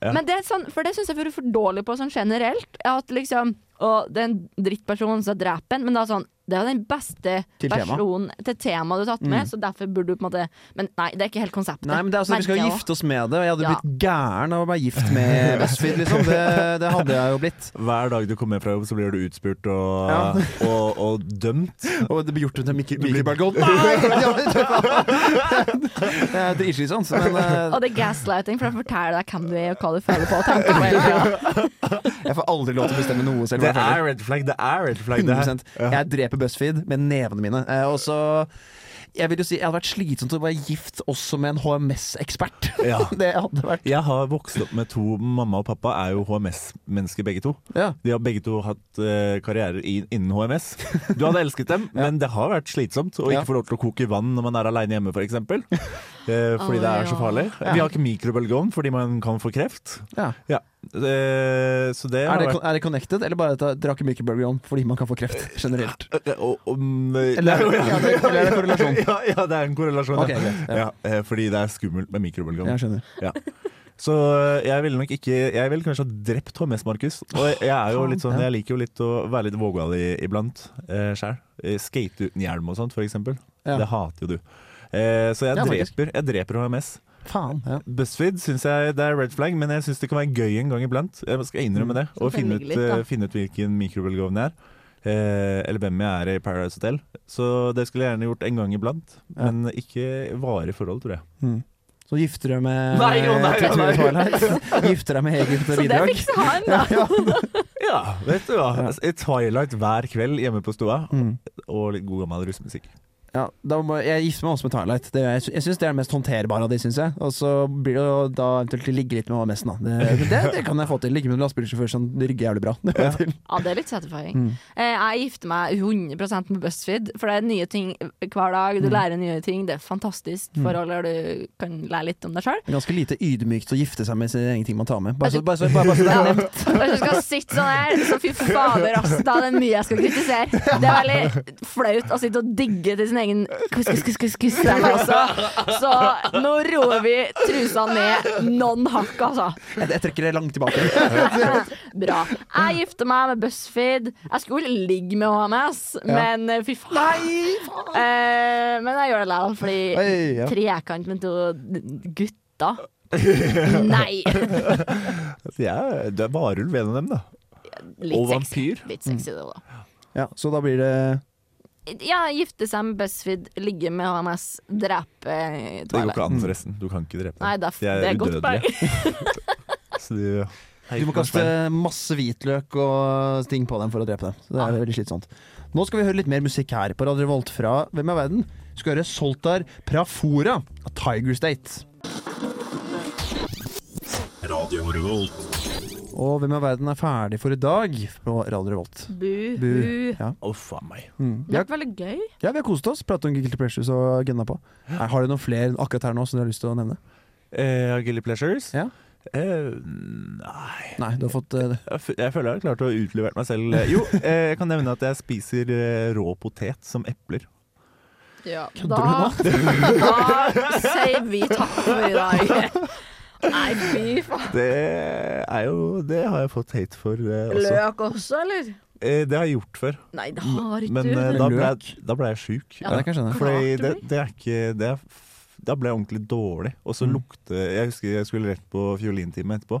Speaker 4: Ja.
Speaker 3: Men det er sånn, for det syns jeg vi er for dårlig på sånn generelt. At liksom Og det er en drittperson som dreper en, men da sånn det er jo den beste
Speaker 2: Til tema. Mm.
Speaker 3: personen til temaet du har tatt med, så derfor burde du på en måte Men nei, det er ikke helt konseptet.
Speaker 2: Nei, men det er altså, Vi skal jo
Speaker 3: merker jeg også.
Speaker 2: gifte oss med det, og jeg hadde
Speaker 3: Ja.
Speaker 2: blitt gæren av å være gift med [LAUGHS] BuzzFeed. Liksom. Det, det hadde jeg jo blitt.
Speaker 4: Hver dag du kommer hjem fra jobb, så blir du utspurt og,
Speaker 2: Ja.
Speaker 4: og, og dømt.
Speaker 2: Og det ble gjort til Mikkel Bergold. Nei! [LAUGHS] Ja, men- Det er dritslitsomt, men eh,
Speaker 3: Og det er gaslighting, for de forteller deg hvem du er og hva du føler på og
Speaker 2: [LAUGHS]
Speaker 3: tenker på. hele tiden.
Speaker 2: Jeg får aldri lov til å bestemme noe selv.
Speaker 4: Det
Speaker 2: hva jeg
Speaker 4: er red flag, det er red flag. Det
Speaker 2: føler.
Speaker 4: her.
Speaker 2: 100%. Jeg dreper BuzzFeed med nevene mine. Eh, Og så Jeg vil jo si Jeg hadde vært slitsomt å være gift også med en HMS-ekspert.
Speaker 4: Ja.
Speaker 2: [LAUGHS] Det hadde vært
Speaker 4: Jeg har vokst opp med to Mamma og pappa er jo HMS-mennesker begge to.
Speaker 2: ja.
Speaker 4: De har begge to hatt eh, karrierer i- innen HMS. Du hadde elsket dem, [LAUGHS] men det har vært slitsomt å
Speaker 2: Ja.
Speaker 4: ikke få lov til å koke vann når man er aleine hjemme, f.eks. For eksempel. Eh, fordi
Speaker 3: Å,
Speaker 4: det er
Speaker 3: ja.
Speaker 4: så farlig. Vi har ikke mikrobølgeovn fordi man kan få kreft.
Speaker 2: Ja.
Speaker 4: Ja. Eh, så det
Speaker 2: Er,
Speaker 4: har
Speaker 2: det,
Speaker 4: vært
Speaker 2: er det connected, eller bare at jeg drakk Mikkel Bergold fordi man kan få kreft generelt?
Speaker 4: Eh, og- om-
Speaker 2: Eller er mm, det, ja, det, eller er det korrelasjon?
Speaker 4: [LAUGHS] Ja, ja, det er en korrelasjon.
Speaker 2: Ok,
Speaker 4: ja.
Speaker 2: greit, ja.
Speaker 4: Ja, eh, fordi det er skummelt med mikrobølgeovn.
Speaker 2: Jeg skjønner.
Speaker 4: Ja. Så øh, jeg ville nok ikke Jeg ville kanskje ha drept HMS Markus. Og jeg- jeg er jo litt sånn Jeg liker jo litt å være litt vågal i, iblant eh, sjæl. Eh, Skate uten hjelm og sånt, for eksempel.
Speaker 2: Ja.
Speaker 4: Det hater jo du. Eh, så jeg,
Speaker 2: Ja, faktisk.
Speaker 4: dreper, jeg dreper HMS.
Speaker 2: Faen. Ja.
Speaker 4: BuzzFeed syns jeg det er red flag, men jeg syns det kan være gøy en gang iblant. Jeg skal innrømme det. Og
Speaker 3: Så kan
Speaker 4: finne
Speaker 3: det
Speaker 4: ut,
Speaker 3: ligge litt, da.
Speaker 4: eh, finne ut hvilken mikrobølgeovn jeg er. Eh, eller hvem jeg er i Paradise Hotel. Så det skulle jeg gjerne gjort en gang iblant.
Speaker 2: Ja.
Speaker 4: Men ikke varig forhold, tror jeg.
Speaker 2: Mm. Så gifter du deg med
Speaker 4: Nei, å nei, å
Speaker 2: Tattoo
Speaker 4: nei.
Speaker 2: Twilight. [LAUGHS] Gifter deg med eget
Speaker 3: Så det
Speaker 2: bidrag.
Speaker 3: fikser han,
Speaker 2: [LAUGHS]
Speaker 3: da.
Speaker 4: Ja, vet du hva. I Twilight hver kveld hjemme på stua,
Speaker 2: Mm.
Speaker 4: og litt god gammel russemusikk.
Speaker 2: Ja, da må, jeg gifter meg også med Twilight. Det, jeg sy- jeg syns det er det mest håndterbare av de, syns jeg. Og så blir det jo da eventuelt til å ligge litt med HMS-en, da. [LAUGHS] Det, det, det kan jeg få til. Ligge med en lastebilsjåfør som rygger jævlig bra. Det får jeg til.
Speaker 3: Ja, det er litt satisfying.
Speaker 2: Mm.
Speaker 3: Eh, jeg gifter meg 100 med BuzzFeed, for det er nye ting hver dag. Du
Speaker 2: Mm.
Speaker 3: lærer nye ting. Det er fantastisk forhold der du kan lære litt om deg sjøl.
Speaker 2: Det er Ganske lite ydmykt å gifte seg med sine egne ting man tar med. Bare så,
Speaker 3: Altså-
Speaker 2: bare så, bare, bare så det
Speaker 3: Ja.
Speaker 2: er nevnt.
Speaker 3: Hvis du skal sitte sånn her, så fy fader, ass, da er det mye jeg skal kritisere. Det er veldig flaut å sitte og digge til sin egen quiz, quiz, quiz, quiz, quiz der også. Så nå roer vi trusa ned non hakk, altså.
Speaker 2: Jeg, jeg trekker det langt tilbake.
Speaker 3: [LAUGHS] Bra. Jeg gifter meg med BuzzFeed. Jeg skulle ligge med HMS, men eh, fy faen. Eh, men jeg gjør det likevel, fordi
Speaker 2: Oi, ja.
Speaker 3: trekant med to gutta
Speaker 2: [LAUGHS]
Speaker 3: Nei!
Speaker 4: Altså, Jeg, det er varulv en av dem, da.
Speaker 3: Litt
Speaker 4: Og
Speaker 3: sexy.
Speaker 4: vampyr.
Speaker 3: Litt sexy, det, da.
Speaker 2: Ja, så da blir det
Speaker 3: Ja, gifte seg med BuzzFeed, ligge med HMS, drepe
Speaker 4: Det går
Speaker 3: Twilight.
Speaker 4: ikke an, forresten. Du kan ikke drepe dem.
Speaker 3: Nei, det er, f-
Speaker 4: De
Speaker 3: det er godt poeng.
Speaker 4: udødelige. [LAUGHS] Så de-
Speaker 2: Du må kaste masse hvitløk og ting på dem for å drepe dem. Så det er veldig slitsomt. Nå skal vi høre litt mer musikk her på Radio Revolt fra Hvem er verden? Vi skal høre Soltar Prafora av Tiger State.
Speaker 7: Radio Revolt.
Speaker 2: Og Hvem er verden er ferdig for i dag på Radio Revolt.
Speaker 3: Bu.
Speaker 2: Bu. Ja. Mm.
Speaker 3: Det
Speaker 2: Ja,
Speaker 3: har vært veldig gøy.
Speaker 2: ja, vi har kost oss. Pratet om Guilty Pressures og agenda på. Er- Har du noen flere akkurat her nå som du har lyst til å nevne?
Speaker 4: Eh, Guilty Pleasures?
Speaker 2: Ja.
Speaker 4: Eh, nei
Speaker 2: Nei, du har fått eh, det.
Speaker 4: Jeg f- jeg føler jeg har klart å utlevere meg selv. Jo, eh, jeg kan nevne at jeg spiser eh, rå potet som epler.
Speaker 3: Da, da sier vi takk for i dag. Nei, fy faen.
Speaker 4: Det er jo Det har jeg fått hate for eh, også.
Speaker 3: Løk også, eller?
Speaker 4: Eh, det har jeg gjort før.
Speaker 3: Nei, det har ikke
Speaker 4: Men
Speaker 3: du.
Speaker 4: eh, da ble jeg, da ble jeg sjuk.
Speaker 3: Ja, det kan jeg skjønne.
Speaker 4: Fordi
Speaker 3: Klart
Speaker 4: det,
Speaker 3: du
Speaker 4: det er ikke det er, f- Da ble jeg ordentlig dårlig. Og så lukte Jeg husker jeg skulle rett på fiolintime etterpå.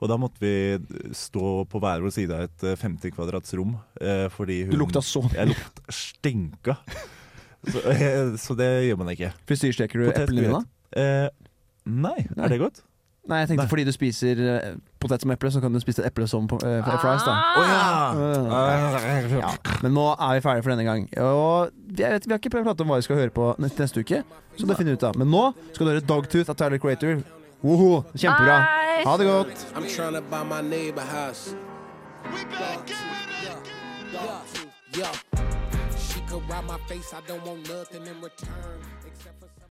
Speaker 4: Og da måtte vi stå på hver vår side av et eh, 50 kvadrats rom. eh, Fordi hun
Speaker 2: Du lukta så mye.
Speaker 4: Jeg lukta stinka. Så, eh, så det gjør man ikke.
Speaker 2: Fristyrsteker du
Speaker 4: Potet,
Speaker 2: eplene dine?
Speaker 4: grøt. Eh, nei.
Speaker 2: Nei.
Speaker 4: Er det godt?
Speaker 2: Nei, jeg tenkte
Speaker 4: Nei.
Speaker 2: fordi du spiser eh, potet som eple, så kan du spise et eple som eh, fries,
Speaker 3: Ah!
Speaker 2: da.
Speaker 4: Å ja.
Speaker 2: Ja, men nå er vi ferdige for denne gang. Og jeg vet, vi har ikke pratet om hva vi skal høre på neste, neste uke, så det finner vi ut av. Men nå skal du høre Dogtooth av Tyler Creator. Woho, kjempebra.
Speaker 5: Bye.
Speaker 2: Ha det godt.
Speaker 5: I'm trying to buy my neighbor house. We back in it. She could ride my face. I don't want nothing in return except for.